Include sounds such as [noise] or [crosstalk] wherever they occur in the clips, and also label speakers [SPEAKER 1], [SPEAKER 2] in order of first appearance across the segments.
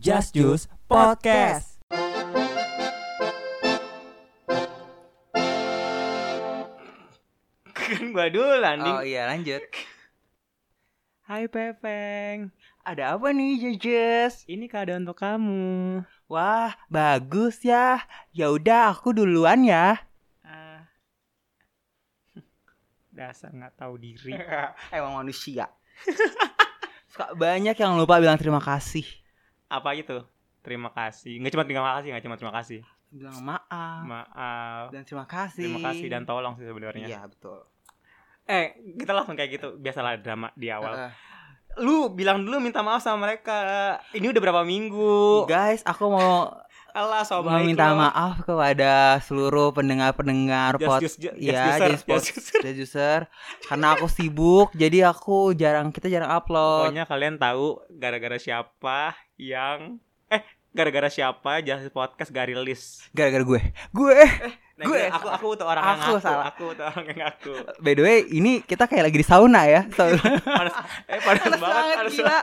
[SPEAKER 1] Just Juice Podcast.
[SPEAKER 2] [clears throat] Kan gua dulu landing.
[SPEAKER 1] Oh iya lanjut. Hai Pepeng, ada apa nih Jejes?
[SPEAKER 2] Ini kado untuk kamu.
[SPEAKER 1] Wah bagus ya. Ya udah aku duluan ya.
[SPEAKER 2] Ah. Dasar nggak tahu diri.
[SPEAKER 1] Emang manusia. Suka banyak yang lupa bilang terima kasih.
[SPEAKER 2] [laughs] Apa itu? Terima kasih. Nggak cuma terima kasih, nggak cuma terima kasih.
[SPEAKER 1] Bilang maaf.
[SPEAKER 2] Maaf.
[SPEAKER 1] Dan terima kasih.
[SPEAKER 2] Terima kasih dan tolong sih sebenarnya.
[SPEAKER 1] Iya betul.
[SPEAKER 2] Eh, kita langsung kayak gitu. Biasalah drama di
[SPEAKER 1] Eh,
[SPEAKER 2] awal. Lu bilang dulu minta maaf sama mereka. Ini udah berapa minggu?
[SPEAKER 1] guys, aku mau
[SPEAKER 2] Alah, so
[SPEAKER 1] mau
[SPEAKER 2] Oh, baik
[SPEAKER 1] minta
[SPEAKER 2] lu.
[SPEAKER 1] maaf kepada seluruh pendengar-pendengar
[SPEAKER 2] Just
[SPEAKER 1] pod
[SPEAKER 2] juice, ju- just
[SPEAKER 1] ya
[SPEAKER 2] juicer,
[SPEAKER 1] jadi
[SPEAKER 2] just
[SPEAKER 1] pod
[SPEAKER 2] juicer.
[SPEAKER 1] jadi user karena aku sibuk jadi aku jarang kita jarang upload
[SPEAKER 2] Pokoknya kalian tahu gara-gara siapa yang eh gara-gara siapa Just Podcast gak rilis.
[SPEAKER 1] gara-gara gue gue
[SPEAKER 2] Nah,
[SPEAKER 1] Gue-
[SPEAKER 2] gini, aku aku tuh orang yang
[SPEAKER 1] aku
[SPEAKER 2] ngaku,
[SPEAKER 1] salah.
[SPEAKER 2] aku tuh orang yang ngaku.
[SPEAKER 1] [laughs] by the way ini kita kayak lagi di sauna
[SPEAKER 2] [laughs]
[SPEAKER 1] ya sauna
[SPEAKER 2] Panas, eh panas
[SPEAKER 1] Panas
[SPEAKER 2] Iya, banget, harus [laughs]
[SPEAKER 1] gila ya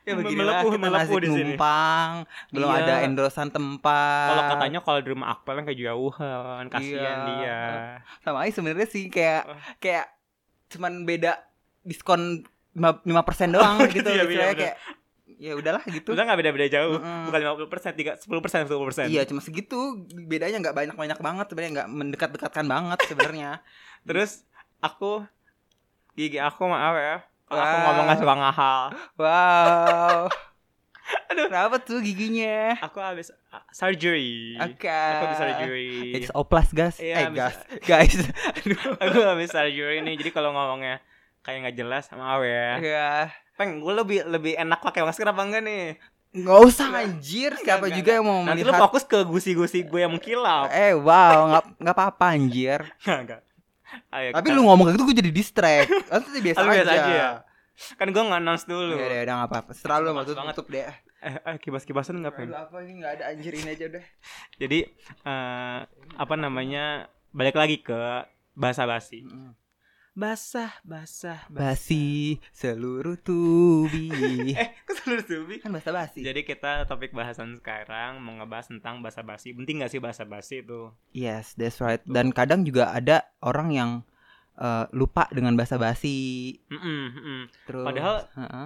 [SPEAKER 2] ya
[SPEAKER 1] beginilah
[SPEAKER 2] melepuh
[SPEAKER 1] kita
[SPEAKER 2] melepuh
[SPEAKER 1] masih
[SPEAKER 2] di sini.
[SPEAKER 1] numpang belum
[SPEAKER 2] Iya.
[SPEAKER 1] ada endorsan tempat
[SPEAKER 2] Kalau katanya kalau di rumah Akpel yang kejauhan, kasihan
[SPEAKER 1] Iya.
[SPEAKER 2] dia.
[SPEAKER 1] sama aja sebenarnya sih kayak kayak cuman beda diskon lima persen doang
[SPEAKER 2] Oh,
[SPEAKER 1] gitu,
[SPEAKER 2] gitu ya,
[SPEAKER 1] Istilahnya
[SPEAKER 2] iya,
[SPEAKER 1] kayak
[SPEAKER 2] bener.
[SPEAKER 1] ya udahlah gitu
[SPEAKER 2] Udah nggak beda-beda jauh,
[SPEAKER 1] Mm-mm.
[SPEAKER 2] bukan 50%, tiga 10%, 10%.
[SPEAKER 1] Iya cuma segitu bedanya nggak banyak banyak banget sebenarnya nggak mendekat-dekatkan banget sebenarnya. [laughs]
[SPEAKER 2] Terus aku gigi aku maaf ya. Kalau aku
[SPEAKER 1] Wah.
[SPEAKER 2] ngomongnya suka ngahal.
[SPEAKER 1] wow. Aduh. Kenapa tuh giginya?
[SPEAKER 2] Aku habis ah, surgery.
[SPEAKER 1] Oke.
[SPEAKER 2] Aku habis surgery. [laughs]
[SPEAKER 1] It's oplas gas. eh
[SPEAKER 2] Iya, habis-
[SPEAKER 1] gas. Guys.
[SPEAKER 2] [laughs] aku habis surgery nih. Jadi kalau ngomongnya kayak nggak jelas, maaf ya.
[SPEAKER 1] Ya.
[SPEAKER 2] Peng, gue lebih lebih enak pakai masker apa enggak nih?
[SPEAKER 1] Nggak usah anjir siapa
[SPEAKER 2] Nggak,
[SPEAKER 1] juga yang mau
[SPEAKER 2] Nanti lu
[SPEAKER 1] melihat.
[SPEAKER 2] fokus ke gusi-gusi gue yang mengkilap.
[SPEAKER 1] Eh wow nggak nggak apa-apa
[SPEAKER 2] [laughs]
[SPEAKER 1] anjir.
[SPEAKER 2] Enggak, enggak. Ayo,
[SPEAKER 1] Tapi
[SPEAKER 2] kita-
[SPEAKER 1] lu ngomong kayak gitu gue jadi distract. Maksudnya biasa,
[SPEAKER 2] Ah, lu biasa
[SPEAKER 1] aja.
[SPEAKER 2] aja. Kan gue nge-announce dulu.
[SPEAKER 1] Ya udah nggak apa-apa. Selalu
[SPEAKER 2] Mas
[SPEAKER 1] maksud
[SPEAKER 2] banget.
[SPEAKER 1] tutup deh.
[SPEAKER 2] Eh, eh, kibas-kibasan enggak, Peng?
[SPEAKER 1] Aduh, apa ini nggak ada anjir ini aja udah.
[SPEAKER 2] Jadi eh, apa namanya? Balik lagi ke bahasa basi. Basah, basah,
[SPEAKER 1] [laughs] Basi seluruh
[SPEAKER 2] [laughs]
[SPEAKER 1] tubuh.
[SPEAKER 2] Eh, kok seluruh tubi?
[SPEAKER 1] kan bahasa basi
[SPEAKER 2] Jadi kita topik bahasan sekarang mau ngebahas tentang bahasa basi. Penting nggak sih bahasa basi itu?
[SPEAKER 1] yes that's right dan kadang juga ada orang yang eh, lupa dengan bahasa basi
[SPEAKER 2] Mm-mm, mm-mm.
[SPEAKER 1] terus
[SPEAKER 2] Padahal-
[SPEAKER 1] Heeh.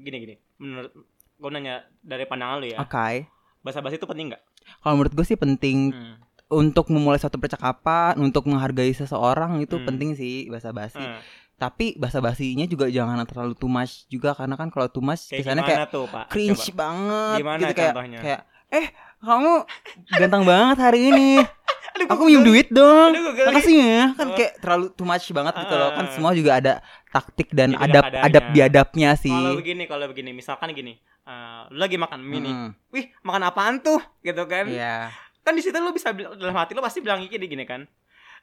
[SPEAKER 2] Gini gini. Menurut gue nanya dari pandangan lu ya.
[SPEAKER 1] oke
[SPEAKER 2] Bahasa basi itu penting nggak?
[SPEAKER 1] kalau menurut gue sih penting
[SPEAKER 2] Hmm.
[SPEAKER 1] untuk memulai suatu percakapan untuk menghargai seseorang itu
[SPEAKER 2] Hmm.
[SPEAKER 1] penting sih bahasa basi
[SPEAKER 2] Eh,
[SPEAKER 1] tapi bahasa basinya juga jangan terlalu too much juga karena kan kalau too much
[SPEAKER 2] kayak
[SPEAKER 1] biasanya
[SPEAKER 2] gimana
[SPEAKER 1] kayak
[SPEAKER 2] tuh, Pak?
[SPEAKER 1] cringe
[SPEAKER 2] Coba.
[SPEAKER 1] banget
[SPEAKER 2] Gimana
[SPEAKER 1] gitu kayak
[SPEAKER 2] contohnya?
[SPEAKER 1] kayak eh kamu ganteng banget hari ini
[SPEAKER 2] Aduh,
[SPEAKER 1] aku
[SPEAKER 2] [laughs]
[SPEAKER 1] minjem duit dong
[SPEAKER 2] Aduh, gue geli.
[SPEAKER 1] Makasih ya kan
[SPEAKER 2] Oh.
[SPEAKER 1] kayak terlalu too much banget gitu loh kan
[SPEAKER 2] Ah.
[SPEAKER 1] semua juga ada taktik dan
[SPEAKER 2] Jadi ada
[SPEAKER 1] adab
[SPEAKER 2] adanya.
[SPEAKER 1] adab biadabnya
[SPEAKER 2] Kalau
[SPEAKER 1] sih.
[SPEAKER 2] begini, kalau begini, misalkan gini, eh, lu lagi makan mie nih.
[SPEAKER 1] Mm,
[SPEAKER 2] Wih, makan apaan tuh? Gitu kan?
[SPEAKER 1] Iya.
[SPEAKER 2] Kan di situ lu bisa bil- dalam hati lu pasti bilang gini, gini kan.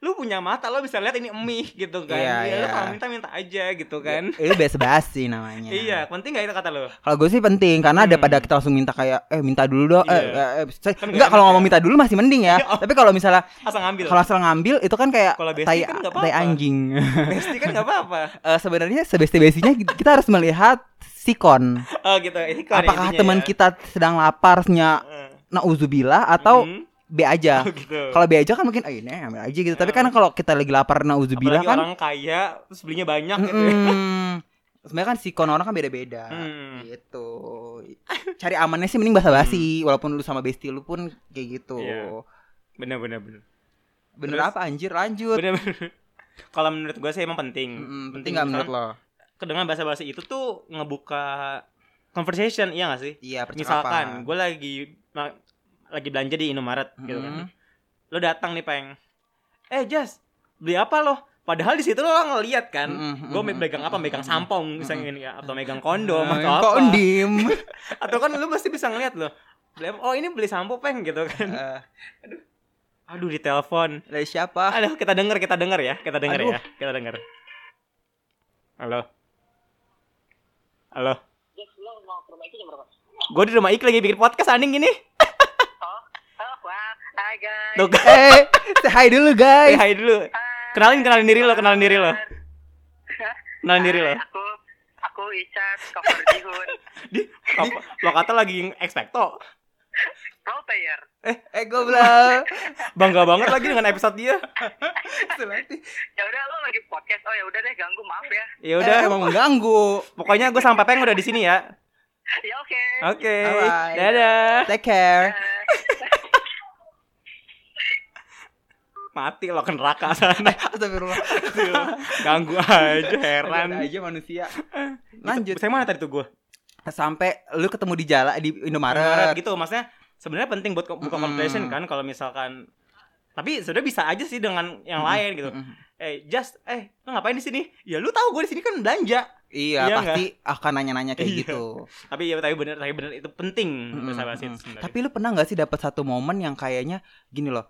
[SPEAKER 2] Lu punya mata, lu bisa lihat ini mie gitu kan.
[SPEAKER 1] Iya,
[SPEAKER 2] Ya, Lu
[SPEAKER 1] iya.
[SPEAKER 2] kalau minta minta aja gitu kan.
[SPEAKER 1] Itu biasa basi namanya.
[SPEAKER 2] Iya, penting gak itu kata lu?
[SPEAKER 1] Kalau gue sih penting karena
[SPEAKER 2] Hmm.
[SPEAKER 1] daripada kita langsung minta kayak eh minta dulu dong. Eh,
[SPEAKER 2] Iya.
[SPEAKER 1] eh, eh, saya-
[SPEAKER 2] Kan
[SPEAKER 1] enggak
[SPEAKER 2] nggak
[SPEAKER 1] kalau
[SPEAKER 2] enak
[SPEAKER 1] ngomong
[SPEAKER 2] ya.
[SPEAKER 1] minta dulu masih mending ya.
[SPEAKER 2] [laughs] Iya.
[SPEAKER 1] Tapi kalau misalnya
[SPEAKER 2] Asal ngambil.
[SPEAKER 1] kalau asal ngambil itu kan kayak
[SPEAKER 2] Kalau besti
[SPEAKER 1] tai,
[SPEAKER 2] kan nggak
[SPEAKER 1] tai
[SPEAKER 2] apa-apa. [laughs]
[SPEAKER 1] anjing. [laughs]
[SPEAKER 2] Besti kan gak apa-apa.
[SPEAKER 1] Eh, sebenarnya sebesti-bestinya kita harus melihat sikon.
[SPEAKER 2] Oh gitu. Ini kan
[SPEAKER 1] Apakah
[SPEAKER 2] intinya
[SPEAKER 1] teman
[SPEAKER 2] ya.
[SPEAKER 1] kita sedang lapar nya
[SPEAKER 2] Eh,
[SPEAKER 1] nauzubillah atau
[SPEAKER 2] mm,
[SPEAKER 1] B aja.
[SPEAKER 2] [laughs] oh, gitu.
[SPEAKER 1] Ya. Kalau B aja kan mungkin ayo nih ambil aja gitu. Tapi kan kalau kita lagi lapar nauzubillah
[SPEAKER 2] Ya. Apalagi
[SPEAKER 1] kan
[SPEAKER 2] orang kaya terus belinya banyak gitu. ya.
[SPEAKER 1] mm, sebenarnya kan sikon orang kan beda-beda.
[SPEAKER 2] Hmm.
[SPEAKER 1] Gitu. Cari amannya sih mending basa-basi walaupun lu sama bestie lu pun kayak gitu.
[SPEAKER 2] Hmm. Iya. Bener bener bener.
[SPEAKER 1] Bener
[SPEAKER 2] Terus?
[SPEAKER 1] apa anjir lanjut.
[SPEAKER 2] Bener bener. [laughs] Kalau menurut gue sih emang penting.
[SPEAKER 1] Mm, penting nggak menurut lo?
[SPEAKER 2] dengan bahasa basi itu tuh ngebuka conversation iya gak sih
[SPEAKER 1] Iya, percakapan.
[SPEAKER 2] misalkan gue lagi ma- lagi belanja di Indomaret gitu kan
[SPEAKER 1] Mm.
[SPEAKER 2] lo datang nih peng eh Jas beli apa lo padahal di situ lo ngeliat kan
[SPEAKER 1] Mm, mm,
[SPEAKER 2] gue
[SPEAKER 1] mm,
[SPEAKER 2] megang apa
[SPEAKER 1] mm,
[SPEAKER 2] megang
[SPEAKER 1] mm,
[SPEAKER 2] sampong misalnya ini ya, atau megang kondom
[SPEAKER 1] Eh,
[SPEAKER 2] atau apa
[SPEAKER 1] Kok
[SPEAKER 2] [laughs]
[SPEAKER 1] diem?
[SPEAKER 2] atau kan lo pasti bisa ngeliat lo Beli apa? oh ini beli sampo peng gitu
[SPEAKER 1] [laughs]
[SPEAKER 2] kan
[SPEAKER 1] Eh,
[SPEAKER 2] aduh di telepon
[SPEAKER 1] Dari siapa?
[SPEAKER 2] aduh kita denger kita denger ya kita denger
[SPEAKER 1] Aduh.
[SPEAKER 2] ya kita denger halo halo
[SPEAKER 3] Yes, lo mau ke rumah itu jam berapa?
[SPEAKER 2] Gue di rumah Ik lagi bikin podcast anjing gini.
[SPEAKER 3] Oh, wah. Hai, guys.
[SPEAKER 2] Tuh,
[SPEAKER 1] eh, say hi dulu
[SPEAKER 2] hey,
[SPEAKER 1] guys.
[SPEAKER 2] [laughs] hai dulu.
[SPEAKER 3] Hai.
[SPEAKER 2] Kenalin, kenalin diri lo, kenalin diri lo. Kenalin diri lo.
[SPEAKER 3] Aku, aku aku Icat, cover Dihun,
[SPEAKER 2] Lo kata lagi expecto.
[SPEAKER 3] role player.
[SPEAKER 1] eh eh goblok
[SPEAKER 2] Bangga banget lagi dengan episode dia.
[SPEAKER 1] Selati.
[SPEAKER 3] Ya udah lo lagi podcast. Oh ya udah deh ganggu maaf ya.
[SPEAKER 2] Ya
[SPEAKER 1] udah
[SPEAKER 2] udah,
[SPEAKER 1] emang mengganggu
[SPEAKER 2] pokoknya gue sama Pepeng udah di sini ya.
[SPEAKER 3] Ya oke.
[SPEAKER 2] Oke.
[SPEAKER 1] Bye-bye.
[SPEAKER 2] Dadah.
[SPEAKER 1] take care
[SPEAKER 3] Eh,
[SPEAKER 2] Mati lo ke neraka
[SPEAKER 1] [laughs]
[SPEAKER 2] sana.
[SPEAKER 1] astagfirullah
[SPEAKER 2] Ganggu aja
[SPEAKER 1] Ada
[SPEAKER 2] heran.
[SPEAKER 1] aja manusia
[SPEAKER 2] Eh,
[SPEAKER 1] lanjut
[SPEAKER 2] Saya mana tadi tuh gue?
[SPEAKER 1] sampai lu ketemu di jala di
[SPEAKER 2] Maret
[SPEAKER 1] Indomaret
[SPEAKER 2] gitu maksudnya sebenarnya penting buat ko- buka
[SPEAKER 1] Mm-mm.
[SPEAKER 2] conversation kan kalau misalkan tapi sebenarnya bisa aja sih dengan yang
[SPEAKER 1] Mm-mm.
[SPEAKER 2] lain gitu.
[SPEAKER 1] Mm-mm.
[SPEAKER 2] Eh, just eh lu ngapain di sini? Ya lu tahu gue di sini kan belanja.
[SPEAKER 1] Iya,
[SPEAKER 2] Iya
[SPEAKER 1] pasti akan nanya-nanya kayak
[SPEAKER 2] Iya.
[SPEAKER 1] gitu.
[SPEAKER 2] Tapi ya tapi bener tapi bener itu penting
[SPEAKER 1] Mm-mm,
[SPEAKER 2] bahasa basi itu
[SPEAKER 1] mm-mm.
[SPEAKER 2] sebenarnya.
[SPEAKER 1] Tapi lu pernah nggak sih dapat satu momen yang kayaknya gini loh.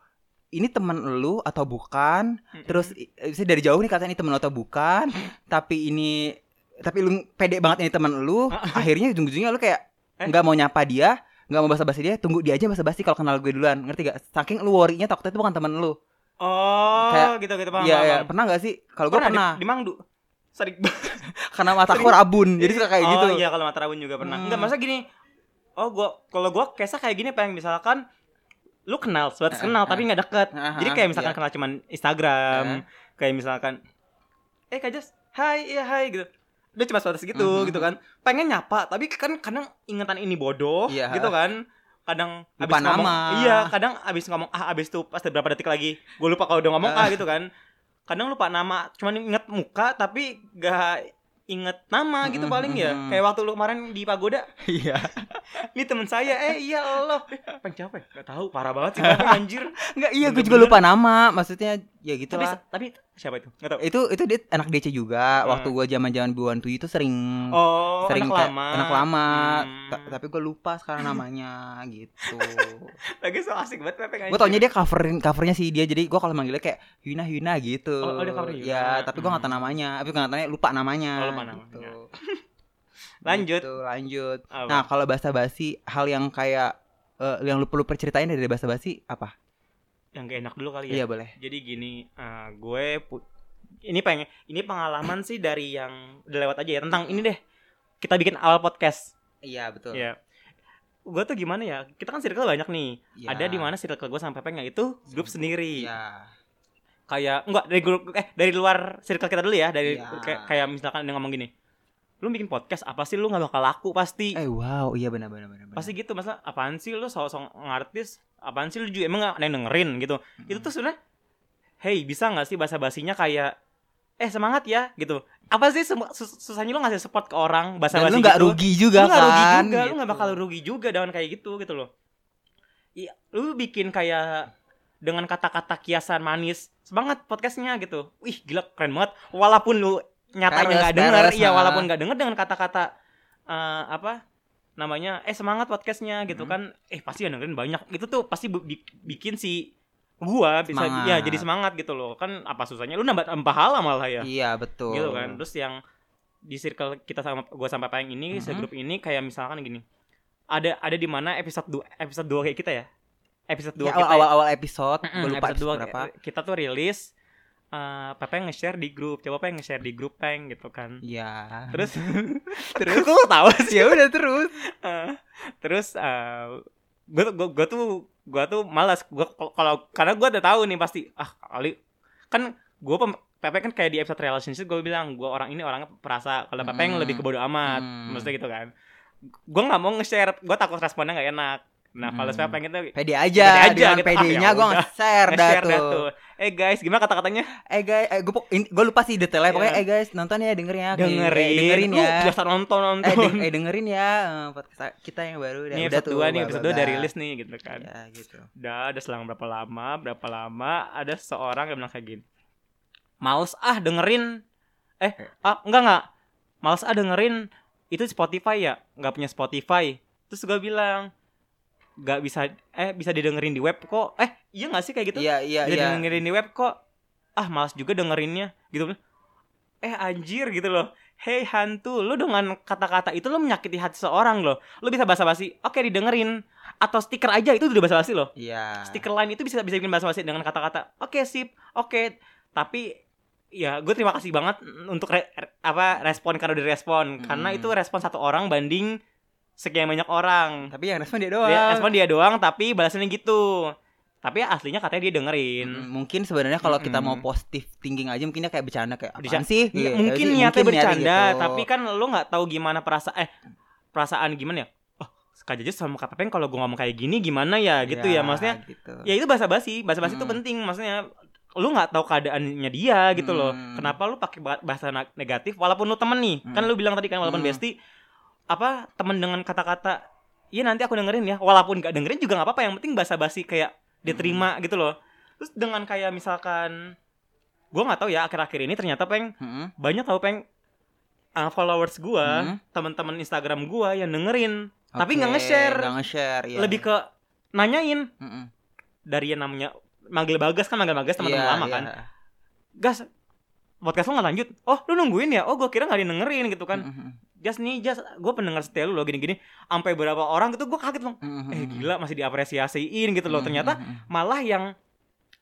[SPEAKER 1] Ini temen lu atau bukan?
[SPEAKER 2] Mm-mm.
[SPEAKER 1] Terus eh, sih dari jauh nih katanya ini temen lu atau bukan? tapi ini tapi lu pede banget ini temen
[SPEAKER 2] [laughs]
[SPEAKER 1] lu. akhirnya ujung-ujungnya lu kayak
[SPEAKER 2] Eh?
[SPEAKER 1] nggak mau nyapa dia, nggak mau basa-basi dia, tunggu dia aja basa-basi kalau kenal gue duluan. Ngerti gak? Saking lu worry-nya takutnya itu bukan temen lu.
[SPEAKER 2] Oh,
[SPEAKER 1] Kayak-
[SPEAKER 2] gitu gitu paham.
[SPEAKER 1] Iya,
[SPEAKER 2] paham,
[SPEAKER 1] iya.
[SPEAKER 2] paham.
[SPEAKER 1] Pernah nggak sih? Kalau gue
[SPEAKER 2] di-
[SPEAKER 1] pernah.
[SPEAKER 2] Di, Mangdu. Sering
[SPEAKER 1] Karena mataku rabun. [laughs] Jadi suka kayak
[SPEAKER 2] oh,
[SPEAKER 1] gitu.
[SPEAKER 2] iya kalau Matarawun juga pernah.
[SPEAKER 1] Hmm.
[SPEAKER 2] Enggak, masa gini. Oh, gua kalau gua kesah kayak gini pengen misalkan lu kenal, sebatas
[SPEAKER 1] Ah,
[SPEAKER 2] kenal
[SPEAKER 1] ah,
[SPEAKER 2] tapi nggak deket.
[SPEAKER 1] Ah,
[SPEAKER 2] Jadi
[SPEAKER 1] ah,
[SPEAKER 2] kayak misalkan
[SPEAKER 1] iya.
[SPEAKER 2] kenal cuman Instagram, kayak misalkan eh Kak Jas, hai, iya hai gitu. Dia cuma sebatas gitu
[SPEAKER 1] Mhm.
[SPEAKER 2] gitu kan. Pengen nyapa, tapi kan kadang ingatan ini bodoh
[SPEAKER 1] Iya.
[SPEAKER 2] gitu kan. Kadang
[SPEAKER 1] Lupa
[SPEAKER 2] abis ngomong,
[SPEAKER 1] nama.
[SPEAKER 2] iya, kadang abis ngomong ah abis tuh pas berapa detik lagi gue lupa kalau udah ngomong ah gitu kan. Kadang lupa nama, cuman inget muka tapi gak inget nama gitu
[SPEAKER 1] Mhm,
[SPEAKER 2] paling ya.
[SPEAKER 1] mhm.
[SPEAKER 2] Kayak waktu lu kemarin di pagoda,
[SPEAKER 1] Iya.
[SPEAKER 2] ini temen saya, eh iya Allah,
[SPEAKER 1] [laughs]
[SPEAKER 2] pengen capek, gak tahu, parah banget sih, Bang, anjir.
[SPEAKER 1] Enggak, iya gue
[SPEAKER 2] Bener-bener.
[SPEAKER 1] juga lupa nama. Maksudnya ya gitu
[SPEAKER 2] tapi,
[SPEAKER 1] lah.
[SPEAKER 2] tapi siapa itu? Gak tahu.
[SPEAKER 1] Itu itu dia anak DC juga.
[SPEAKER 2] Hmm.
[SPEAKER 1] Waktu gua zaman-zaman buan tuh itu sering
[SPEAKER 2] Oh,
[SPEAKER 1] sering
[SPEAKER 2] anak
[SPEAKER 1] kayak-
[SPEAKER 2] lama.
[SPEAKER 1] anak lama.
[SPEAKER 2] Hmm.
[SPEAKER 1] Ta- tapi gue lupa sekarang namanya
[SPEAKER 2] [laughs]
[SPEAKER 1] gitu.
[SPEAKER 2] Lagi so asik banget Pepe
[SPEAKER 1] gue taunya dia coverin covernya sih dia. Jadi gua kalau manggilnya kayak Yuna Yuna gitu.
[SPEAKER 2] Oh, oh, dia cover Yuna.
[SPEAKER 1] Ya, tapi gua nggak tahu namanya. Tapi nggak tahu lupa namanya.
[SPEAKER 2] Oh, lupa namanya.
[SPEAKER 1] gitu.
[SPEAKER 2] Lanjut.
[SPEAKER 1] Gitu, lanjut.
[SPEAKER 2] Apa?
[SPEAKER 1] Nah, kalau bahasa basi hal yang kayak eh, yang lu perlu perceritain dari bahasa basi apa?
[SPEAKER 2] yang gak enak dulu kali ya.
[SPEAKER 1] Iya, boleh.
[SPEAKER 2] Jadi gini, eh, gue pu- ini pengen ini pengalaman sih dari yang udah lewat aja ya tentang ini deh. Kita bikin awal podcast.
[SPEAKER 1] Iya, betul.
[SPEAKER 2] Ya. Gue tuh gimana ya? Kita kan circle banyak nih.
[SPEAKER 1] Iya.
[SPEAKER 2] Ada di mana circle gue sampai pengen itu grup sendiri.
[SPEAKER 1] Iya.
[SPEAKER 2] Kayak enggak dari grup eh dari luar circle kita dulu ya, dari
[SPEAKER 1] Iya.
[SPEAKER 2] kayak, kayak misalkan ada yang ngomong gini. Lu bikin podcast apa sih lu nggak bakal laku pasti.
[SPEAKER 1] Eh, wow, iya benar benar benar. benar.
[SPEAKER 2] pasti gitu masalah apaan sih lu sosok artis apaan sih lu juga emang gak ada yang dengerin gitu
[SPEAKER 1] Hmm.
[SPEAKER 2] itu tuh sebenarnya hey bisa nggak sih bahasa basinya kayak eh semangat ya gitu apa sih semu- sus- susahnya lu ngasih support ke orang bahasa
[SPEAKER 1] Hmm. Dan
[SPEAKER 2] basi
[SPEAKER 1] lu nggak
[SPEAKER 2] gitu
[SPEAKER 1] rugi juga
[SPEAKER 2] lu nggak rugi
[SPEAKER 1] kan?
[SPEAKER 2] juga lu nggak
[SPEAKER 1] gitu.
[SPEAKER 2] bakal rugi juga dengan kayak gitu gitu loh iya lu bikin kayak dengan kata-kata kiasan manis semangat podcastnya gitu wih gila keren banget walaupun lu nyatanya
[SPEAKER 1] Peres,
[SPEAKER 2] nggak denger
[SPEAKER 1] peres,
[SPEAKER 2] iya
[SPEAKER 1] nah.
[SPEAKER 2] walaupun nggak denger dengan kata-kata eh, apa namanya eh semangat podcastnya
[SPEAKER 1] Hmm.
[SPEAKER 2] gitu kan eh pasti yang dengerin banyak itu tuh pasti bu- bi- bikin si gua bisa
[SPEAKER 1] Semangat.
[SPEAKER 2] ya jadi semangat gitu loh kan apa susahnya lu nambah nambah pahala malah ya
[SPEAKER 1] Iya betul.
[SPEAKER 2] gitu kan terus yang di circle kita sama gua sampai payang
[SPEAKER 1] Mhm.
[SPEAKER 2] ini segrup ini kayak misalkan gini ada ada di mana episode 2 episode 2 kayak kita ya episode 2
[SPEAKER 1] Ya,
[SPEAKER 2] kita
[SPEAKER 1] awal, awal awal episode,
[SPEAKER 2] Mm-mm,
[SPEAKER 1] gue lupa
[SPEAKER 2] episode
[SPEAKER 1] episode
[SPEAKER 2] dua
[SPEAKER 1] berapa.
[SPEAKER 2] kita tuh rilis eh Pepe nge-share di grup coba Pepe nge-share di grup peng gitu kan
[SPEAKER 1] Iya. [laughs]
[SPEAKER 2] terus terus kok tahu sih
[SPEAKER 1] ya udah terus.
[SPEAKER 2] Eh, terus gue gua, gua tuh gua tuh malas gua kal- kalau karena gua udah tahu nih pasti ah kali kan gua pem- Pepe kan kayak di episode relationship gue bilang gua orang ini orangnya perasa kalau Pepe yang
[SPEAKER 1] Hmm.
[SPEAKER 2] lebih kebodo amat
[SPEAKER 1] Hmm.
[SPEAKER 2] maksudnya gitu kan gua nggak mau nge-share gua takut responnya nggak enak nah kalau
[SPEAKER 1] Hmm.
[SPEAKER 2] Pepe gitu
[SPEAKER 1] Pede aja,
[SPEAKER 2] Pede aja
[SPEAKER 1] dengan
[SPEAKER 2] gitu. Ah,
[SPEAKER 1] pedenya
[SPEAKER 2] ya
[SPEAKER 1] gue
[SPEAKER 2] udah.
[SPEAKER 1] nge-share dah
[SPEAKER 2] nge-share dah
[SPEAKER 1] tuh.
[SPEAKER 2] tuh eh guys gimana kata katanya
[SPEAKER 1] Eh guys, eh, gue gue lupa sih detailnya pokoknya
[SPEAKER 2] Iya.
[SPEAKER 1] eh guys nonton ya dengerin ya. Eh,
[SPEAKER 2] dengerin
[SPEAKER 1] dengerin
[SPEAKER 2] Lu
[SPEAKER 1] ya.
[SPEAKER 2] biasa nonton nonton
[SPEAKER 1] Eh, deng- eh, dengerin ya eh, podcast kita yang baru dah.
[SPEAKER 2] ini
[SPEAKER 1] udah
[SPEAKER 2] episode
[SPEAKER 1] tuh.
[SPEAKER 2] 2 nih episode 2
[SPEAKER 1] bla,
[SPEAKER 2] udah
[SPEAKER 1] bla, bla.
[SPEAKER 2] rilis nih gitu kan
[SPEAKER 1] Ya gitu.
[SPEAKER 2] Udah ada selang berapa lama, berapa lama ada seorang yang bilang kayak gini. Males ah dengerin. Eh, ah, enggak enggak. Males ah dengerin itu Spotify ya, nggak punya Spotify. Terus gue bilang nggak bisa eh bisa didengerin di web kok. Eh, iya nggak sih kayak gitu?
[SPEAKER 1] Iya iya
[SPEAKER 2] bisa
[SPEAKER 1] iya.
[SPEAKER 2] didengerin di web kok. Ah, males juga dengerinnya gitu. Eh anjir gitu loh. Hey hantu, lu dengan kata-kata itu lu menyakiti hati seorang loh. Lu bisa basa-basi, oke didengerin atau stiker aja itu udah basa-basi loh
[SPEAKER 1] Iya.
[SPEAKER 2] stiker lain itu bisa bisa bikin bahasa basi dengan kata-kata oke sip oke tapi ya gue terima kasih banget untuk re- re- apa respon karena udah respon karena
[SPEAKER 1] Hmm.
[SPEAKER 2] itu respon satu orang banding sekian banyak orang
[SPEAKER 1] Tapi yang respon dia doang.
[SPEAKER 2] dia, respon dia doang tapi balasannya gitu tapi aslinya katanya dia dengerin
[SPEAKER 1] Mm, Mungkin sebenarnya kalau kita
[SPEAKER 2] Mm-mm.
[SPEAKER 1] mau positive thinking aja mungkin dia kayak bercanda kayak
[SPEAKER 2] Bisa-
[SPEAKER 1] apaan sih?
[SPEAKER 2] Iya,
[SPEAKER 1] Iya,
[SPEAKER 2] mungkin
[SPEAKER 1] sih,
[SPEAKER 2] niatnya
[SPEAKER 1] mungkin
[SPEAKER 2] bercanda
[SPEAKER 1] gitu.
[SPEAKER 2] tapi kan lu nggak tahu gimana perasaan eh perasaan gimana ya oh Kak Jaja sama Kak Tepeng kalau gue ngomong kayak gini gimana ya gitu ya maksudnya
[SPEAKER 1] gitu.
[SPEAKER 2] ya itu bahasa basi bahasa basi itu
[SPEAKER 1] Mm.
[SPEAKER 2] penting maksudnya lu nggak tahu keadaannya dia gitu loh
[SPEAKER 1] Mm.
[SPEAKER 2] kenapa lu pakai ba- bahasa na- negatif walaupun lu temen nih kan
[SPEAKER 1] Mm.
[SPEAKER 2] lu bilang tadi kan walaupun
[SPEAKER 1] Mm.
[SPEAKER 2] bestie apa temen dengan kata-kata iya nanti aku dengerin ya walaupun gak dengerin juga nggak apa-apa yang penting bahasa basi kayak
[SPEAKER 1] Hmm.
[SPEAKER 2] diterima gitu loh terus dengan kayak misalkan gua nggak tahu ya akhir-akhir ini ternyata peng
[SPEAKER 1] Mm-mm.
[SPEAKER 2] banyak tau peng uh, followers gua
[SPEAKER 1] Hmm.
[SPEAKER 2] teman-teman Instagram gua yang dengerin Tapi nggak
[SPEAKER 1] Oke,
[SPEAKER 2] nge-share.
[SPEAKER 1] nggak nge-share ya.
[SPEAKER 2] lebih ke nanyain
[SPEAKER 1] Mm-mm.
[SPEAKER 2] dari yang namanya manggil Bagas kan manggil Bagas teman-teman
[SPEAKER 1] Iya,
[SPEAKER 2] lama
[SPEAKER 1] iya.
[SPEAKER 2] kan Gas podcast lo nggak lanjut oh lu nungguin ya oh gua kira nggak ada yang dengerin gitu kan
[SPEAKER 1] Mm-mm.
[SPEAKER 2] Jas nih Jas gua pendengar setia lu loh gini-gini sampai berapa orang gitu gua kaget loh
[SPEAKER 1] Mm-mm.
[SPEAKER 2] eh gila masih diapresiasiin gitu loh
[SPEAKER 1] Mm-mm.
[SPEAKER 2] ternyata
[SPEAKER 1] Mm-mm.
[SPEAKER 2] malah yang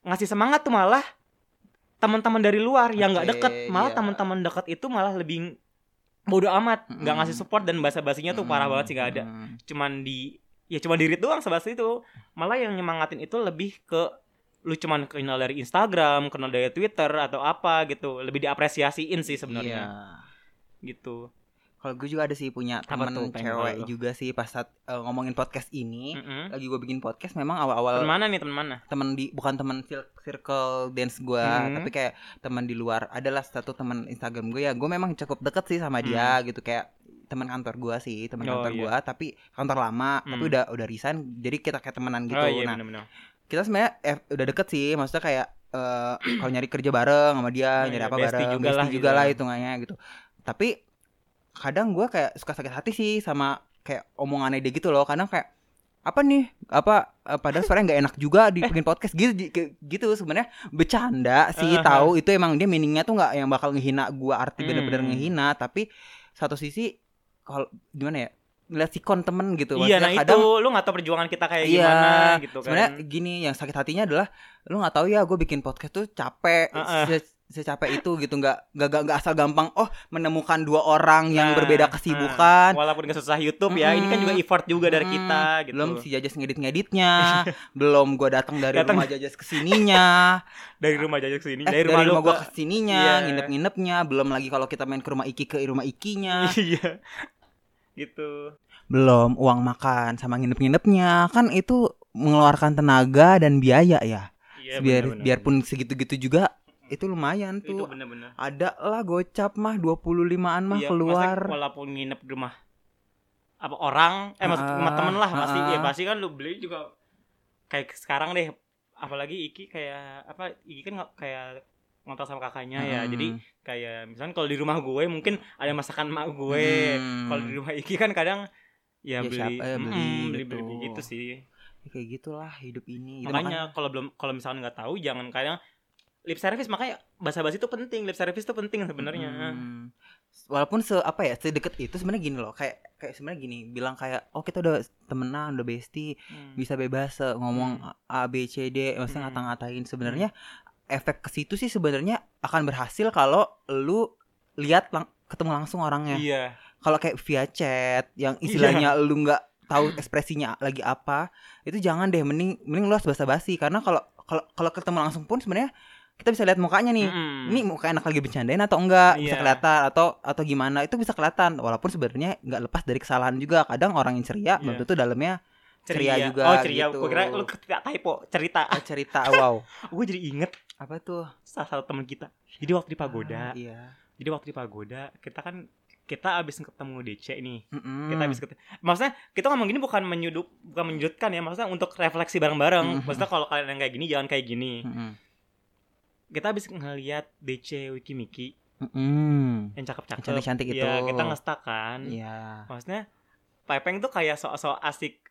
[SPEAKER 2] ngasih semangat tuh malah teman-teman dari luar yang nggak
[SPEAKER 1] Oke,
[SPEAKER 2] deket malah
[SPEAKER 1] iya.
[SPEAKER 2] teman-teman deket itu malah lebih bodo amat nggak
[SPEAKER 1] Mm-mm.
[SPEAKER 2] ngasih support dan bahasa basinya tuh parah banget sih nggak ada
[SPEAKER 1] Mm-mm. Iya.
[SPEAKER 2] cuman di ya cuman dirit doang sebahasa itu malah yang nyemangatin itu lebih ke lu cuman kenal dari Instagram kenal dari Twitter atau apa gitu lebih diapresiasiin sih
[SPEAKER 1] Iya.
[SPEAKER 2] sebenarnya gitu
[SPEAKER 1] Kalau gue juga ada sih punya
[SPEAKER 2] Apa
[SPEAKER 1] temen
[SPEAKER 2] tuh, Peng,
[SPEAKER 1] cewek
[SPEAKER 2] kalau lu?
[SPEAKER 1] juga sih pas saat eh, ngomongin podcast ini.
[SPEAKER 2] Mm-mm.
[SPEAKER 1] Lagi gue bikin podcast memang
[SPEAKER 2] teman
[SPEAKER 1] awal-awal
[SPEAKER 2] mana nih teman mana
[SPEAKER 1] temen di bukan temen fil- circle dance gua
[SPEAKER 2] Hmm.
[SPEAKER 1] tapi kayak temen di luar adalah satu temen Instagram gue ya gue memang cukup deket sih sama dia gitu kayak teman kantor gua sih teman
[SPEAKER 2] Hmm. Oh,
[SPEAKER 1] kantor
[SPEAKER 2] iya.
[SPEAKER 1] gua tapi kantor lama tapi
[SPEAKER 2] Hmm.
[SPEAKER 1] udah udah resign jadi kita kayak temenan gitu
[SPEAKER 2] oh iya
[SPEAKER 1] nah
[SPEAKER 2] bener-bener.
[SPEAKER 1] kita sebenarnya eh, udah deket sih maksudnya kayak eh, kalau nyari kerja bareng sama dia
[SPEAKER 2] Oh,
[SPEAKER 1] nyari
[SPEAKER 2] iya,
[SPEAKER 1] apa
[SPEAKER 2] bestie
[SPEAKER 1] bareng
[SPEAKER 2] juga
[SPEAKER 1] bestie
[SPEAKER 2] lah
[SPEAKER 1] juga
[SPEAKER 2] gitu.
[SPEAKER 1] lah hitungannya gitu tapi kadang gua kayak suka sakit hati sih sama kayak omongannya dia gitu loh kadang kayak apa nih apa eh, padahal suaranya nggak enak juga di bikin podcast gitu di- kayak gitu sebenarnya bercanda sih
[SPEAKER 2] Aha.
[SPEAKER 1] tahu itu emang dia meaningnya tuh nggak yang bakal ngehina gua arti bener-bener
[SPEAKER 2] Hmm.
[SPEAKER 1] ngehina tapi satu sisi kalau gimana ya ngeliat sikon temen gitu
[SPEAKER 2] iya
[SPEAKER 1] Maksudnya
[SPEAKER 2] nah
[SPEAKER 1] kadang
[SPEAKER 2] itu lu nggak tahu perjuangan kita kayak
[SPEAKER 1] Iya,
[SPEAKER 2] gimana gitu kan
[SPEAKER 1] sebenarnya gini yang sakit hatinya adalah lu nggak tahu ya gue bikin podcast tuh capek
[SPEAKER 2] Ah, ah.
[SPEAKER 1] se- secapek itu gitu nggak nggak nggak- nggak asal gampang oh menemukan dua orang yang
[SPEAKER 2] Nah,
[SPEAKER 1] berbeda kesibukan
[SPEAKER 2] walaupun gak susah YouTube ya ini kan juga
[SPEAKER 1] kan Mm-mm.
[SPEAKER 2] effort juga dari
[SPEAKER 1] Mm-mm.
[SPEAKER 2] kita gitu
[SPEAKER 1] belum si Jajas ngedit
[SPEAKER 2] [laughs]
[SPEAKER 1] ngeditnya belum gue datang dari
[SPEAKER 2] Datang.
[SPEAKER 1] rumah Jajas kesininya
[SPEAKER 2] [laughs] dari rumah jajak sini
[SPEAKER 1] eh, dari rumah,
[SPEAKER 2] lu
[SPEAKER 1] gue
[SPEAKER 2] ke-
[SPEAKER 1] kesininya
[SPEAKER 2] Iya.
[SPEAKER 1] nginep nginepnya belum lagi kalau kita main ke rumah Iki ke rumah Ikinya
[SPEAKER 2] [laughs] iya gitu
[SPEAKER 1] belum uang makan sama nginep nginepnya kan itu mengeluarkan tenaga dan biaya ya
[SPEAKER 2] iya,
[SPEAKER 1] biar
[SPEAKER 2] bener-bener.
[SPEAKER 1] biarpun segitu gitu juga itu lumayan
[SPEAKER 2] itu
[SPEAKER 1] tuh
[SPEAKER 2] bener-bener
[SPEAKER 1] ada lah gocap mah 25-an mah
[SPEAKER 2] Iya,
[SPEAKER 1] keluar
[SPEAKER 2] maksudnya walaupun nginep di rumah apa orang eh maksud
[SPEAKER 1] Ah,
[SPEAKER 2] rumah temen lah pasti
[SPEAKER 1] ah.
[SPEAKER 2] ya pasti kan lu beli juga kayak sekarang deh apalagi Iki kayak apa Iki kan nggak- kayak ngontrak sama kakaknya ya
[SPEAKER 1] Hmm.
[SPEAKER 2] jadi kayak misalnya kalau di rumah gue mungkin ada masakan mak gue
[SPEAKER 1] Hmm.
[SPEAKER 2] kalau di rumah Iki kan kadang ya,
[SPEAKER 1] Ya,
[SPEAKER 2] beli,
[SPEAKER 1] siapa ya, beli,
[SPEAKER 2] Mm-mm, beli
[SPEAKER 1] gitu.
[SPEAKER 2] beli gitu sih
[SPEAKER 1] kayak gitulah hidup ini gitu.
[SPEAKER 2] makanya kalau belum kalau misalnya nggak tahu jangan kadang lip service makanya bahasa basi itu penting lip service itu penting sebenarnya
[SPEAKER 1] Hmm. walaupun se apa ya sedekat itu sebenarnya gini loh kayak kayak sebenarnya gini bilang kayak oh kita udah temenan udah bestie
[SPEAKER 2] Hmm.
[SPEAKER 1] bisa bebas eh, ngomong a b c d maksudnya
[SPEAKER 2] Hmm.
[SPEAKER 1] ngata-ngatain sebenarnya efek ke situ sih sebenarnya akan berhasil kalau lu lihat lang- ketemu langsung orangnya
[SPEAKER 2] iya
[SPEAKER 1] kalau kayak via chat yang istilahnya lu nggak tahu ekspresinya lagi apa itu jangan deh mending mending lu harus basa-basi karena kalau kalau kalau ketemu langsung pun sebenarnya kita bisa lihat mukanya nih
[SPEAKER 2] Mm-mm.
[SPEAKER 1] ini muka enak lagi bercandain atau enggak bisa
[SPEAKER 2] Hmm. Iya.
[SPEAKER 1] kelihatan atau atau gimana itu bisa kelihatan walaupun sebenarnya nggak lepas dari kesalahan juga kadang orang yang ceria
[SPEAKER 2] Iya.
[SPEAKER 1] belum tentu dalamnya ceria juga
[SPEAKER 2] Oh ceria,
[SPEAKER 1] gitu.
[SPEAKER 2] gue kira lu tidak typo cerita. [laughs]
[SPEAKER 1] Ah, cerita wow
[SPEAKER 2] Gue jadi inget
[SPEAKER 1] apa tuh
[SPEAKER 2] salah satu teman kita. Jadi waktu di
[SPEAKER 1] Ah,
[SPEAKER 2] pagoda,
[SPEAKER 1] iya
[SPEAKER 2] jadi waktu di pagoda kita kan kita abis ketemu DC nih.
[SPEAKER 1] Mm-mm.
[SPEAKER 2] Kita abis ketemu. Maksudnya kita ngomong gini bukan menyudut, bukan menyudutkan ya. Maksudnya untuk refleksi bareng-bareng.
[SPEAKER 1] Mm-mm.
[SPEAKER 2] Maksudnya kalau kalian yang kayak gini jangan kayak gini.
[SPEAKER 1] Mm-mm.
[SPEAKER 2] Kita abis ngeliat DC Wiki Miki
[SPEAKER 1] Mm-mm.
[SPEAKER 2] yang cakep-cakep.
[SPEAKER 1] Cantik-cantik itu.
[SPEAKER 2] Iya, kita ngestak kan.
[SPEAKER 1] iya
[SPEAKER 2] Maksudnya Pepeng tuh kayak sok-sok asik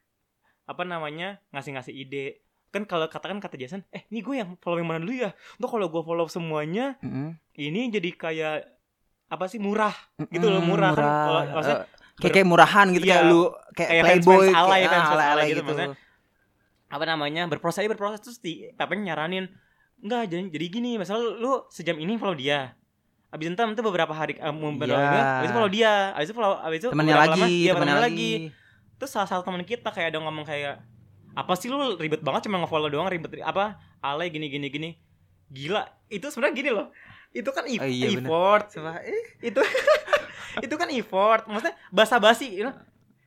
[SPEAKER 2] apa namanya ngasih-ngasih ide kan kalau katakan kata Jason eh ini gue yang follow yang mana dulu ya tuh kalau gue follow semuanya
[SPEAKER 1] Mm-mm.
[SPEAKER 2] ini jadi kayak apa sih murah Gitu loh, murah kan. Kalau- maksudnya
[SPEAKER 1] Eh, kayak, kayak murahan gitu
[SPEAKER 2] Iya.
[SPEAKER 1] kayak lu kayak,
[SPEAKER 2] Kayak
[SPEAKER 1] playboy
[SPEAKER 2] fans-fans alay,
[SPEAKER 1] kayak
[SPEAKER 2] fans-fans
[SPEAKER 1] alay-alay
[SPEAKER 2] alay gitu
[SPEAKER 1] gitu,
[SPEAKER 2] maksudnya. apa namanya berproses aja berproses terus di Pepeng nyaranin Enggak, jadi, jadi gini, masalah lu, lu sejam ini follow dia. Abis entar itu beberapa hari eh,
[SPEAKER 1] Iya.
[SPEAKER 2] beberapa hari, abis itu follow dia, abis itu follow abis itu
[SPEAKER 1] temennya
[SPEAKER 2] beberapa
[SPEAKER 1] lagi,
[SPEAKER 2] lama, iya,
[SPEAKER 1] temennya lagi.
[SPEAKER 2] Terus salah satu teman kita kayak ada yang ngomong kayak apa sih lu ribet banget cuma ngefollow doang ribet apa alay gini gini gini. Gila, itu sebenarnya gini loh. Itu kan e-
[SPEAKER 1] Oh, iya, bener.
[SPEAKER 2] effort,
[SPEAKER 1] Setelah, eh,
[SPEAKER 2] itu itu kan effort maksudnya basa-basi you know?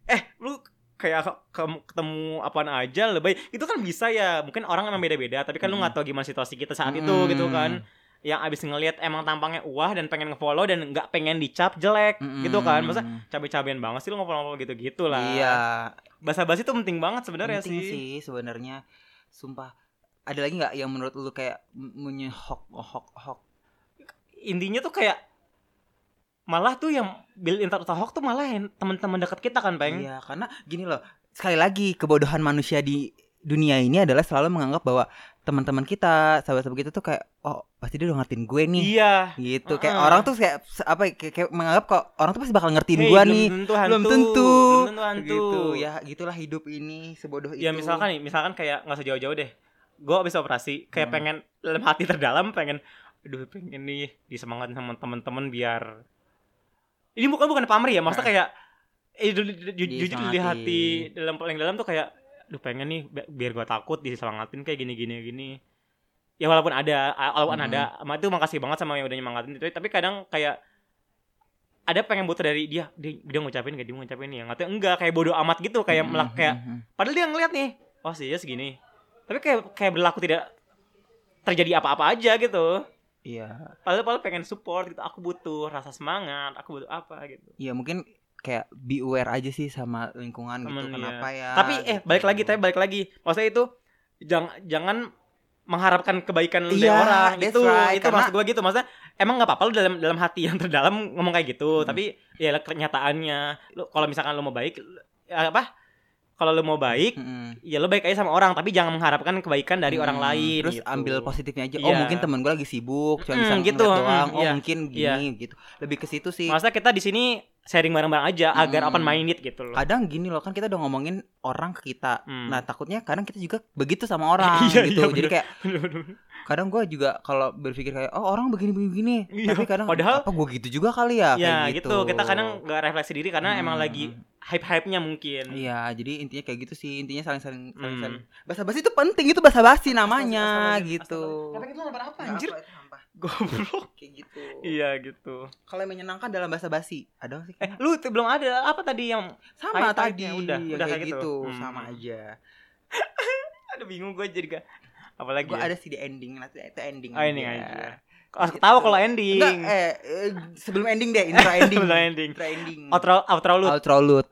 [SPEAKER 2] eh lu kayak ke- ke- ketemu apaan aja lebih itu kan bisa ya mungkin orang emang beda-beda tapi kan lu
[SPEAKER 1] Mm.
[SPEAKER 2] nggak tahu gimana situasi kita saat itu
[SPEAKER 1] Mm.
[SPEAKER 2] gitu kan yang abis ngelihat emang tampangnya wah dan pengen ngefollow dan nggak pengen dicap jelek
[SPEAKER 1] mm-mm.
[SPEAKER 2] gitu kan masa cabe-cabean banget sih lu ngefollow gitu gitu lah
[SPEAKER 1] Iya,
[SPEAKER 2] basa-basi tuh penting banget sebenarnya
[SPEAKER 1] penting
[SPEAKER 2] sih.
[SPEAKER 1] sih sebenarnya. Sumpah. Ada lagi nggak yang menurut lu kayak menyehok hok hok?
[SPEAKER 2] intinya tuh kayak malah tuh yang build intertahok tuh malah yang teman-teman dekat kita kan peng
[SPEAKER 1] Iya, karena gini loh. Sekali lagi kebodohan manusia di dunia ini adalah selalu menganggap bahwa teman-teman kita, sahabat-sahabat kita tuh kayak oh, pasti dia udah ngertiin gue nih.
[SPEAKER 2] iya
[SPEAKER 1] Gitu. Kayak
[SPEAKER 2] Heeh.
[SPEAKER 1] orang tuh kayak se- apa ya, kayak, kayak menganggap kok orang tuh pasti bakal ngertiin
[SPEAKER 2] Hey,
[SPEAKER 1] gue
[SPEAKER 2] belum
[SPEAKER 1] nih.
[SPEAKER 2] tentu
[SPEAKER 1] Belum tentu.
[SPEAKER 2] hantu, belum tentu hantu.
[SPEAKER 1] Gitu. Ya, gitulah hidup ini sebodoh itu.
[SPEAKER 2] Ya, misalkan nih, misalkan kayak nggak usah jauh-jauh deh. Gue abis operasi, kayak
[SPEAKER 1] Hmm.
[SPEAKER 2] pengen dalam hati terdalam pengen, aduh pengen nih disemangatin sama temen-temen biar. Ini bukan bukan pamrih ya, maksudnya kayak eh, ju- ju- ju- jujur di hati
[SPEAKER 1] Nah. Disemangatin.
[SPEAKER 2] dalam paling dalam tuh kayak, aduh pengen nih bi- biar gue takut disemangatin kayak gini-gini gini. Ya walaupun ada, a- walaupun
[SPEAKER 1] Hmm.
[SPEAKER 2] ada, sama itu makasih banget sama yang udah nyemangatin itu, tapi kadang kayak ada pengen butuh dari dia dia, dia ngucapin gak dia ngucapin ya nggak tahu enggak kayak bodoh amat gitu kayak melak
[SPEAKER 1] Mhm,
[SPEAKER 2] kayak
[SPEAKER 1] mhm.
[SPEAKER 2] Padahal dia ngeliat nih, oh sih ya segini. Tapi kayak kayak berlaku tidak terjadi apa-apa aja gitu.
[SPEAKER 1] Iya.
[SPEAKER 2] Padahal, padahal pengen support gitu. Aku butuh rasa semangat. Aku butuh apa gitu.
[SPEAKER 1] Iya, mungkin kayak be aware aja sih sama lingkungan gitu
[SPEAKER 2] Temen, iya.
[SPEAKER 1] kenapa ya.
[SPEAKER 2] tapi eh balik
[SPEAKER 1] gitu.
[SPEAKER 2] lagi, tapi balik lagi. Maksudnya itu jangan jangan mengharapkan kebaikan dari
[SPEAKER 1] Iya,
[SPEAKER 2] orang
[SPEAKER 1] that's
[SPEAKER 2] itu
[SPEAKER 1] right,
[SPEAKER 2] itu
[SPEAKER 1] karena-
[SPEAKER 2] maksud gue gitu maksudnya emang nggak apa-apa lu dalam dalam hati yang terdalam ngomong kayak gitu
[SPEAKER 1] Hmm.
[SPEAKER 2] tapi ya kenyataannya lu kalau misalkan lu mau baik lu- ya apa kalau lu mau baik
[SPEAKER 1] Mhm.
[SPEAKER 2] ya lu baik aja sama orang tapi jangan mengharapkan kebaikan dari orang
[SPEAKER 1] Hmm,
[SPEAKER 2] lain
[SPEAKER 1] terus
[SPEAKER 2] gitu.
[SPEAKER 1] ambil positifnya aja oh
[SPEAKER 2] Iya.
[SPEAKER 1] mungkin temen gue lagi sibuk cuma
[SPEAKER 2] Mm,
[SPEAKER 1] bisa
[SPEAKER 2] gitu,
[SPEAKER 1] gitu
[SPEAKER 2] mm,
[SPEAKER 1] doang oh
[SPEAKER 2] iya.
[SPEAKER 1] mungkin gini
[SPEAKER 2] Iya.
[SPEAKER 1] gitu lebih ke situ sih
[SPEAKER 2] Maksudnya kita di sini sharing bareng-bareng aja agar
[SPEAKER 1] Hmm.
[SPEAKER 2] open minded gitu [laughs] loh.
[SPEAKER 1] kadang gini loh kan kita udah ngomongin orang ke kita
[SPEAKER 2] Hmm.
[SPEAKER 1] nah takutnya kadang kita juga begitu sama orang
[SPEAKER 2] [laughs] Iya,
[SPEAKER 1] gitu
[SPEAKER 2] iya,
[SPEAKER 1] jadi
[SPEAKER 2] bener.
[SPEAKER 1] kayak kadang gue juga kalau berpikir kayak oh orang begini begini, begini.
[SPEAKER 2] Iya,
[SPEAKER 1] tapi kadang
[SPEAKER 2] padahal-
[SPEAKER 1] apa gue gitu juga kali ya
[SPEAKER 2] ya
[SPEAKER 1] kayak
[SPEAKER 2] gitu. Kita kadang nggak refleksi diri karena emang
[SPEAKER 1] Hmm.
[SPEAKER 2] lagi hype-hype-nya mungkin.
[SPEAKER 1] Iya, jadi intinya kayak gitu sih. Intinya saling-saling
[SPEAKER 2] Hmm.
[SPEAKER 1] saling-saling. Bahasa-basi itu penting, itu bahasa-basi namanya
[SPEAKER 2] Astagfirullahaladzim,
[SPEAKER 1] gitu.
[SPEAKER 2] astagfirullahaladzim. Tapi itu lebar kan apa anjir?
[SPEAKER 1] Apa itu, sampah?
[SPEAKER 2] Goblok.
[SPEAKER 1] Kayak gitu.
[SPEAKER 2] [laughs] Iya gitu.
[SPEAKER 1] Kalau yang menyenangkan dalam bahasa-basi, ada nggak sih?
[SPEAKER 2] Eh, lu tuh belum ada apa tadi yang
[SPEAKER 1] sama tadi
[SPEAKER 2] Pahit-pahitnya, udah,
[SPEAKER 1] ya,
[SPEAKER 2] udah
[SPEAKER 1] kayak
[SPEAKER 2] kayak
[SPEAKER 1] gitu,
[SPEAKER 2] gitu. Hmm.
[SPEAKER 1] sama aja
[SPEAKER 2] aduh bingung gue jadi gak apalagi
[SPEAKER 1] gue
[SPEAKER 2] ya?
[SPEAKER 1] ada sih di ending nanti itu ending
[SPEAKER 2] Oh, ending
[SPEAKER 1] aja.
[SPEAKER 2] aja. Harus ketawa kalau ending.
[SPEAKER 1] Enggak, eh, eh, sebelum ending deh
[SPEAKER 2] [laughs]
[SPEAKER 1] intro ending Hmm.
[SPEAKER 2] Belum ending.
[SPEAKER 1] intro ending
[SPEAKER 2] Outro outro lu.
[SPEAKER 1] outro loot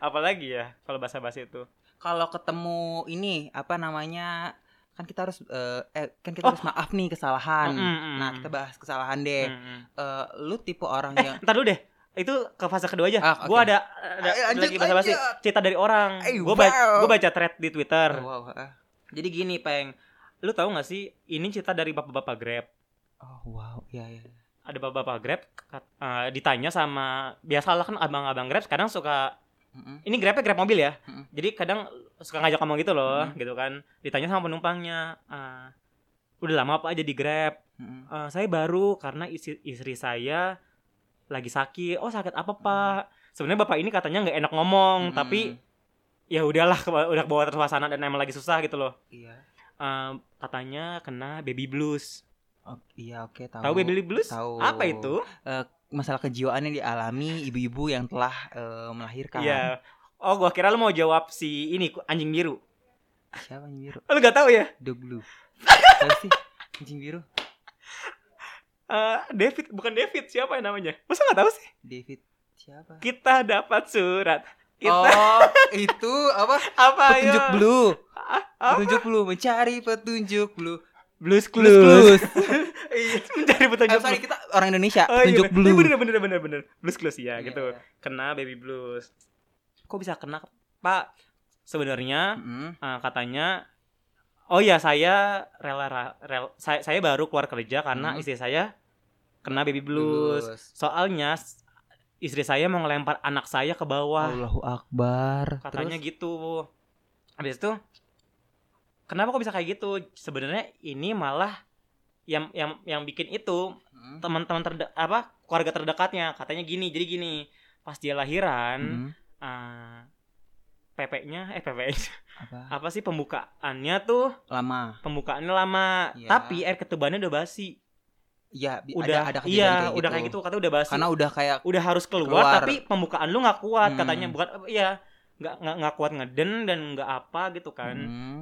[SPEAKER 2] Apalagi ya kalau bahasa-bahasa itu.
[SPEAKER 1] kalau ketemu ini apa namanya kan kita harus eh, eh kan kita
[SPEAKER 2] Oh.
[SPEAKER 1] harus maaf nih kesalahan
[SPEAKER 2] Mm, mm,
[SPEAKER 1] nah
[SPEAKER 2] mm.
[SPEAKER 1] kita bahas kesalahan deh
[SPEAKER 2] Mm, mm.
[SPEAKER 1] Eh, lu tipe orang
[SPEAKER 2] Eh,
[SPEAKER 1] yang
[SPEAKER 2] [laughs] ntar dulu deh. Itu ke fase kedua aja.
[SPEAKER 1] Ah, oke.
[SPEAKER 2] Gua ada ada
[SPEAKER 1] Ayo,
[SPEAKER 2] ada
[SPEAKER 1] lanjut,
[SPEAKER 2] lagi bahasa basi
[SPEAKER 1] lanjut.
[SPEAKER 2] cerita dari orang.
[SPEAKER 1] Eh,
[SPEAKER 2] Gua baca,
[SPEAKER 1] wow.
[SPEAKER 2] gua baca thread di Twitter.
[SPEAKER 1] Oh, wow, eh.
[SPEAKER 2] Jadi gini, Peng. Lu tahu gak sih ini cerita dari bapak-bapak Grab.
[SPEAKER 1] oh wow ya ya
[SPEAKER 2] Iya, Ada bapak-bapak Grab kat- eh, ditanya sama biasalah kan abang-abang Grab sekarang suka
[SPEAKER 1] Mm-mm.
[SPEAKER 2] ini Grabnya Grab mobil ya.
[SPEAKER 1] Mm-mm.
[SPEAKER 2] Jadi kadang suka ngajak ngomong gitu loh,
[SPEAKER 1] Mm.
[SPEAKER 2] gitu kan. Ditanya sama penumpangnya, "Ah, udah lama apa aja di Grab?
[SPEAKER 1] Mm-mm.
[SPEAKER 2] Eh, saya baru karena isi- istri saya lagi sakit. Oh sakit apa pak?
[SPEAKER 1] Hmm.
[SPEAKER 2] Sebenarnya bapak ini katanya nggak enak ngomong,
[SPEAKER 1] Mm-mm.
[SPEAKER 2] tapi ya udahlah ke- udah bawa suasana dan emang lagi susah gitu loh.
[SPEAKER 1] iya
[SPEAKER 2] Eh, katanya kena baby blues.
[SPEAKER 1] Oh, iya oke tahu
[SPEAKER 2] Tahu baby blues?
[SPEAKER 1] Tahu.
[SPEAKER 2] Apa itu?
[SPEAKER 1] masalah kejiwaan yang dialami ibu-ibu yang telah eh, melahirkan.
[SPEAKER 2] Iya. Oh gua kira lu mau jawab si ini ku- anjing biru.
[SPEAKER 1] Siapa anjing biru?
[SPEAKER 2] Lu gak tahu ya?
[SPEAKER 1] Dog blue.
[SPEAKER 2] [laughs]
[SPEAKER 1] Siapa sih? Anjing biru.
[SPEAKER 2] Eh, David bukan David siapa yang namanya? Masa gak tahu sih?
[SPEAKER 1] David siapa?
[SPEAKER 2] Kita dapat surat. Kita
[SPEAKER 1] Oh, itu apa?
[SPEAKER 2] apa ya?
[SPEAKER 1] Petunjuk
[SPEAKER 2] [laughs]
[SPEAKER 1] blue.
[SPEAKER 2] Ah, apa?
[SPEAKER 1] Petunjuk blue mencari petunjuk blue.
[SPEAKER 2] Blues
[SPEAKER 1] Blues
[SPEAKER 2] clues.
[SPEAKER 1] clues.
[SPEAKER 2] Iya, mencari
[SPEAKER 1] Eh,
[SPEAKER 2] petunjuk.
[SPEAKER 1] sorry
[SPEAKER 2] blues.
[SPEAKER 1] kita orang Indonesia.
[SPEAKER 2] Oh, iya,
[SPEAKER 1] petunjuk
[SPEAKER 2] bener.
[SPEAKER 1] blue.
[SPEAKER 2] Iya, bener bener bener bener blues clues ya
[SPEAKER 1] Iya,
[SPEAKER 2] gitu.
[SPEAKER 1] iya.
[SPEAKER 2] Kena baby blues. Kok bisa kena Pak? Sebenarnya
[SPEAKER 1] Mm-mm.
[SPEAKER 2] eh, katanya oh ya saya rela, ra- rel- saya, saya baru keluar kerja karena
[SPEAKER 1] Hmm.
[SPEAKER 2] istri saya kena baby blues. Soalnya s- istri saya mau ngelempar anak saya
[SPEAKER 1] Oh,
[SPEAKER 2] ke bawah.
[SPEAKER 1] Allahu Akbar.
[SPEAKER 2] katanya
[SPEAKER 1] Terus?
[SPEAKER 2] gitu. Habis itu kenapa kok bisa kayak gitu sebenarnya ini malah yang yang yang bikin itu
[SPEAKER 1] Hmm.
[SPEAKER 2] teman-teman terde apa keluarga terdekatnya katanya gini jadi gini pas dia lahiran
[SPEAKER 1] Hmm.
[SPEAKER 2] eh, PP-nya eh PP
[SPEAKER 1] Apa?
[SPEAKER 2] [laughs] apa sih pembukaannya tuh
[SPEAKER 1] Lama.
[SPEAKER 2] pembukaannya lama
[SPEAKER 1] Iya.
[SPEAKER 2] tapi air ketubannya udah basi
[SPEAKER 1] Iya, bi-
[SPEAKER 2] udah
[SPEAKER 1] ada ada kejadian
[SPEAKER 2] iya udah kayak gitu katanya udah basi
[SPEAKER 1] Karena udah kayak
[SPEAKER 2] udah harus keluar,
[SPEAKER 1] Keluar.
[SPEAKER 2] tapi pembukaan lu nggak kuat
[SPEAKER 1] Hmm.
[SPEAKER 2] katanya bukan iya nggak nggak nggak kuat ngeden dan nggak apa gitu kan
[SPEAKER 1] Hmm.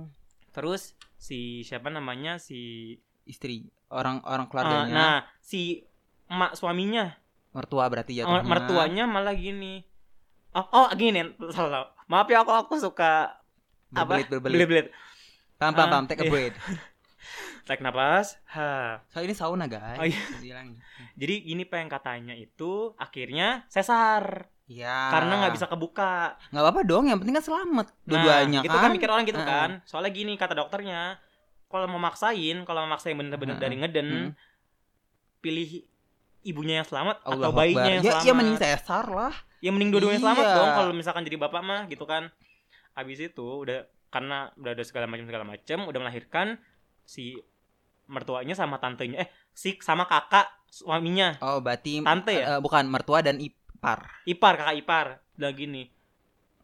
[SPEAKER 2] terus si siapa namanya si
[SPEAKER 1] istri orang orang
[SPEAKER 2] ah,
[SPEAKER 1] keluarganya
[SPEAKER 2] nah si emak suaminya
[SPEAKER 1] mertua berarti ya
[SPEAKER 2] emak- mertuanya malah gini oh, oh gini salah salah. maaf ya aku aku suka apa
[SPEAKER 1] berbelit berbelit
[SPEAKER 2] belit
[SPEAKER 1] pam pam
[SPEAKER 2] Ah,
[SPEAKER 1] pam take a
[SPEAKER 2] iya.
[SPEAKER 1] break
[SPEAKER 2] tarik napas ha
[SPEAKER 1] so ini sauna guys
[SPEAKER 2] Oh, iya.
[SPEAKER 1] bilang
[SPEAKER 2] jadi gini pengen katanya itu akhirnya sesar
[SPEAKER 1] ya
[SPEAKER 2] karena nggak bisa kebuka
[SPEAKER 1] nggak apa dong yang penting kan selamat
[SPEAKER 2] Nah,
[SPEAKER 1] dua-duanya
[SPEAKER 2] gitu
[SPEAKER 1] kan,
[SPEAKER 2] kan mikir orang gitu
[SPEAKER 1] Heeh.
[SPEAKER 2] kan soalnya gini kata dokternya kalau memaksain kalau memaksain bener-bener
[SPEAKER 1] Heeh.
[SPEAKER 2] dari ngeden
[SPEAKER 1] Hmm.
[SPEAKER 2] pilih ibunya yang selamat
[SPEAKER 1] Allah
[SPEAKER 2] atau bayinya yang
[SPEAKER 1] ya,
[SPEAKER 2] selamat
[SPEAKER 1] ya mending saya sar lah
[SPEAKER 2] Ya, mending dua-duanya selamat
[SPEAKER 1] Iya.
[SPEAKER 2] dong kalau misalkan jadi bapak mah gitu kan abis itu udah karena udah ada segala macam segala macam udah melahirkan si mertuanya sama tantenya eh si sama kakak suaminya
[SPEAKER 1] oh berarti
[SPEAKER 2] Tante ya?
[SPEAKER 1] eh, bukan mertua dan ipar
[SPEAKER 2] ipar kakak ipar bilang gini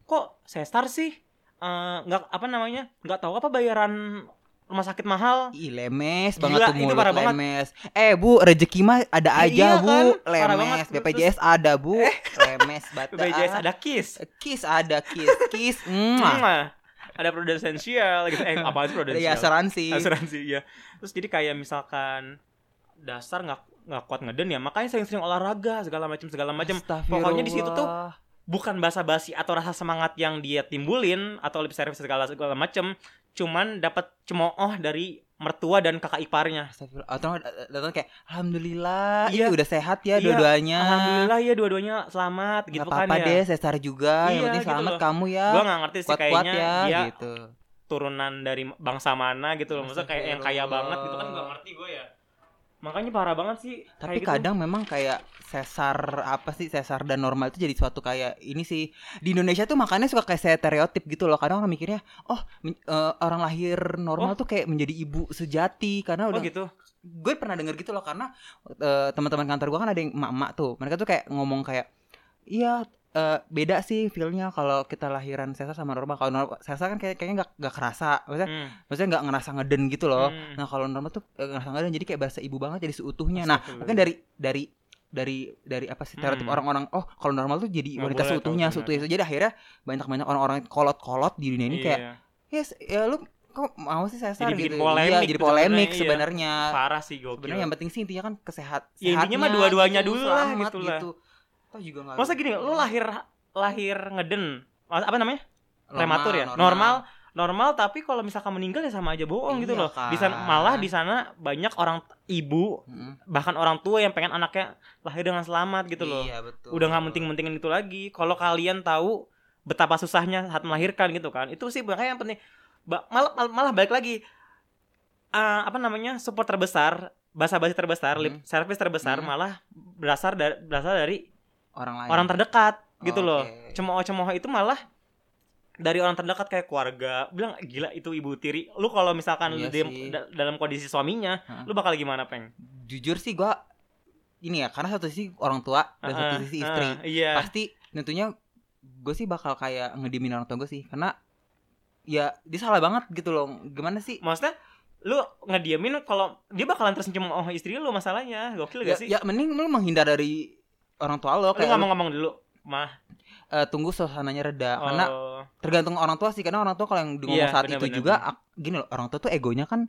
[SPEAKER 2] kok sesar sih Eh, nggak apa namanya nggak tahu apa bayaran rumah sakit mahal
[SPEAKER 1] Ih lemes
[SPEAKER 2] Gila,
[SPEAKER 1] banget tuh
[SPEAKER 2] itu
[SPEAKER 1] mulut
[SPEAKER 2] parah banget.
[SPEAKER 1] lemes. Eh bu rezeki mah ada
[SPEAKER 2] Eh, iya
[SPEAKER 1] aja bu
[SPEAKER 2] kan? Parah
[SPEAKER 1] lemes.
[SPEAKER 2] banget. Eh.
[SPEAKER 1] BPJS ada bu
[SPEAKER 2] [laughs]
[SPEAKER 1] lemes batas.
[SPEAKER 2] BPJS ada KIS.
[SPEAKER 1] Kiss ada kiss kiss. Mm.
[SPEAKER 2] Mwah. Ada prudensial gitu. Eh, apa sih prudensial?
[SPEAKER 1] Ya asuransi.
[SPEAKER 2] Asuransi, iya. Terus jadi kayak misalkan dasar nggak nggak kuat ngeden ya, makanya sering-sering olahraga segala macam segala macam. Pokoknya di situ tuh
[SPEAKER 1] Astagfirullah.
[SPEAKER 2] Bukan basa-basi atau rasa semangat yang dia timbulin atau lip service segala segala macam, cuman dapat cemooh dari mertua dan kakak iparnya.
[SPEAKER 1] Astagfirullah. Atau eh, datang kayak alhamdulillah
[SPEAKER 2] Iya.
[SPEAKER 1] ini udah sehat ya
[SPEAKER 2] Iya,
[SPEAKER 1] dua-duanya.
[SPEAKER 2] Alhamdulillah ya dua-duanya selamat
[SPEAKER 1] Gak
[SPEAKER 2] gitu
[SPEAKER 1] apa-apa
[SPEAKER 2] kan
[SPEAKER 1] deh,
[SPEAKER 2] ya.
[SPEAKER 1] saya sar juga. Yang
[SPEAKER 2] Iya,
[SPEAKER 1] penting
[SPEAKER 2] gitu
[SPEAKER 1] selamat
[SPEAKER 2] loh.
[SPEAKER 1] kamu ya.
[SPEAKER 2] Gua nggak ngerti sih
[SPEAKER 1] Kuat-kuat
[SPEAKER 2] kayaknya
[SPEAKER 1] ya
[SPEAKER 2] dia
[SPEAKER 1] gitu.
[SPEAKER 2] turunan dari bangsa mana gitu loh maksudnya kayak yang kaya banget gitu kan gak ngerti gue ya makanya parah banget sih
[SPEAKER 1] Tapi
[SPEAKER 2] kayak gitu.
[SPEAKER 1] kadang memang kayak sesar apa sih sesar dan normal itu jadi suatu kayak ini sih di Indonesia tuh makanya suka kayak stereotip gitu loh. Kadang orang mikirnya, oh men- eh, orang lahir normal tuh kayak menjadi ibu sejati karena
[SPEAKER 2] oh
[SPEAKER 1] udah
[SPEAKER 2] gitu
[SPEAKER 1] gue pernah denger gitu loh karena eh, teman-teman kantor gue kan ada yang emak-emak tuh mereka tuh kayak ngomong kayak iya eh, beda sih feelnya kalau kita lahiran sesar sama normal kalau normal sesar kan kayak kayaknya nggak nggak kerasa maksudnya
[SPEAKER 2] Hmm,
[SPEAKER 1] maksudnya nggak ngerasa ngeden gitu loh
[SPEAKER 2] hmm.
[SPEAKER 1] nah kalau normal tuh eh, ngerasa ngeden jadi kayak bahasa ibu banget jadi seutuhnya nah
[SPEAKER 2] Astagfirullah.
[SPEAKER 1] mungkin dari dari dari dari apa sih stereotip
[SPEAKER 2] Hmm.
[SPEAKER 1] orang-orang oh kalau normal tuh jadi
[SPEAKER 2] Nggak
[SPEAKER 1] wanita
[SPEAKER 2] boleh,
[SPEAKER 1] seutuhnya
[SPEAKER 2] kalau
[SPEAKER 1] seutuhnya jadi akhirnya banyak banyak orang-orang kolot-kolot di dunia ini
[SPEAKER 2] Iya,
[SPEAKER 1] kayak yes ya lu kok mau sih sesar
[SPEAKER 2] Jadi bikin
[SPEAKER 1] gitu
[SPEAKER 2] polemik
[SPEAKER 1] Iya, jadi
[SPEAKER 2] sebenarnya,
[SPEAKER 1] polemik
[SPEAKER 2] iya.
[SPEAKER 1] sebenarnya
[SPEAKER 2] parah sih gokil
[SPEAKER 1] sebenarnya yang penting sih intinya kan kesehat
[SPEAKER 2] Ya, intinya mah
[SPEAKER 1] sehatnya
[SPEAKER 2] dua-duanya
[SPEAKER 1] gitu,
[SPEAKER 2] dulu lah,
[SPEAKER 1] selamat
[SPEAKER 2] gitu lah.
[SPEAKER 1] Toh juga nggak- gitu.
[SPEAKER 2] masa gini lu lahir lahir ngeden Mas- apa namanya
[SPEAKER 1] Normal,
[SPEAKER 2] prematur ya normal normal tapi kalau misalkan meninggal ya sama aja bohong gitu
[SPEAKER 1] Iya
[SPEAKER 2] loh di sana
[SPEAKER 1] kan.
[SPEAKER 2] malah di sana banyak orang ibu
[SPEAKER 1] Mm,
[SPEAKER 2] bahkan orang tua yang pengen anaknya lahir dengan selamat gitu loh
[SPEAKER 1] iya, betul.
[SPEAKER 2] udah nggak menting-mentingin itu lagi. Kalau kalian tahu betapa susahnya saat melahirkan gitu kan, itu sih makanya yang penting. Ba- malah, malah malah balik lagi Eh, apa namanya support terbesar, basa-basi terbesar, lip
[SPEAKER 1] Hmm.
[SPEAKER 2] service terbesar
[SPEAKER 1] Hmm.
[SPEAKER 2] malah berasal dari berasal dari
[SPEAKER 1] orang lain
[SPEAKER 2] orang terdekat gitu
[SPEAKER 1] Oke.
[SPEAKER 2] loh. Cemooh-cemooh itu malah dari orang terdekat kayak keluarga bilang gila itu ibu tiri lu kalau misalkan
[SPEAKER 1] Iya
[SPEAKER 2] lu diem
[SPEAKER 1] sih.
[SPEAKER 2] da- dalam kondisi suaminya
[SPEAKER 1] Hah?
[SPEAKER 2] lu bakal gimana peng
[SPEAKER 1] jujur sih gua ini ya karena satu sisi orang tua dan satu
[SPEAKER 2] Heeh,
[SPEAKER 1] sisi istri
[SPEAKER 2] heeh, iya
[SPEAKER 1] pasti tentunya gue sih bakal kayak ngedimin orang tua gue sih karena ya dia salah banget gitu loh gimana sih
[SPEAKER 2] maksudnya lu ngediamin kalau dia bakalan terus cemooh istri lu masalahnya gokil
[SPEAKER 1] ya,
[SPEAKER 2] gak sih
[SPEAKER 1] ya mending lu menghindar dari orang tua lo
[SPEAKER 2] lu
[SPEAKER 1] kayak lu,
[SPEAKER 2] ngomong-ngomong dulu mah
[SPEAKER 1] eh, tunggu suasananya reda Ya, karena
[SPEAKER 2] oh,
[SPEAKER 1] tergantung orang tua sih karena orang tua kalau yang di- ngomong
[SPEAKER 2] Iya,
[SPEAKER 1] saat itu
[SPEAKER 2] benar-benar.
[SPEAKER 1] juga ak- gini loh orang tua tuh egonya kan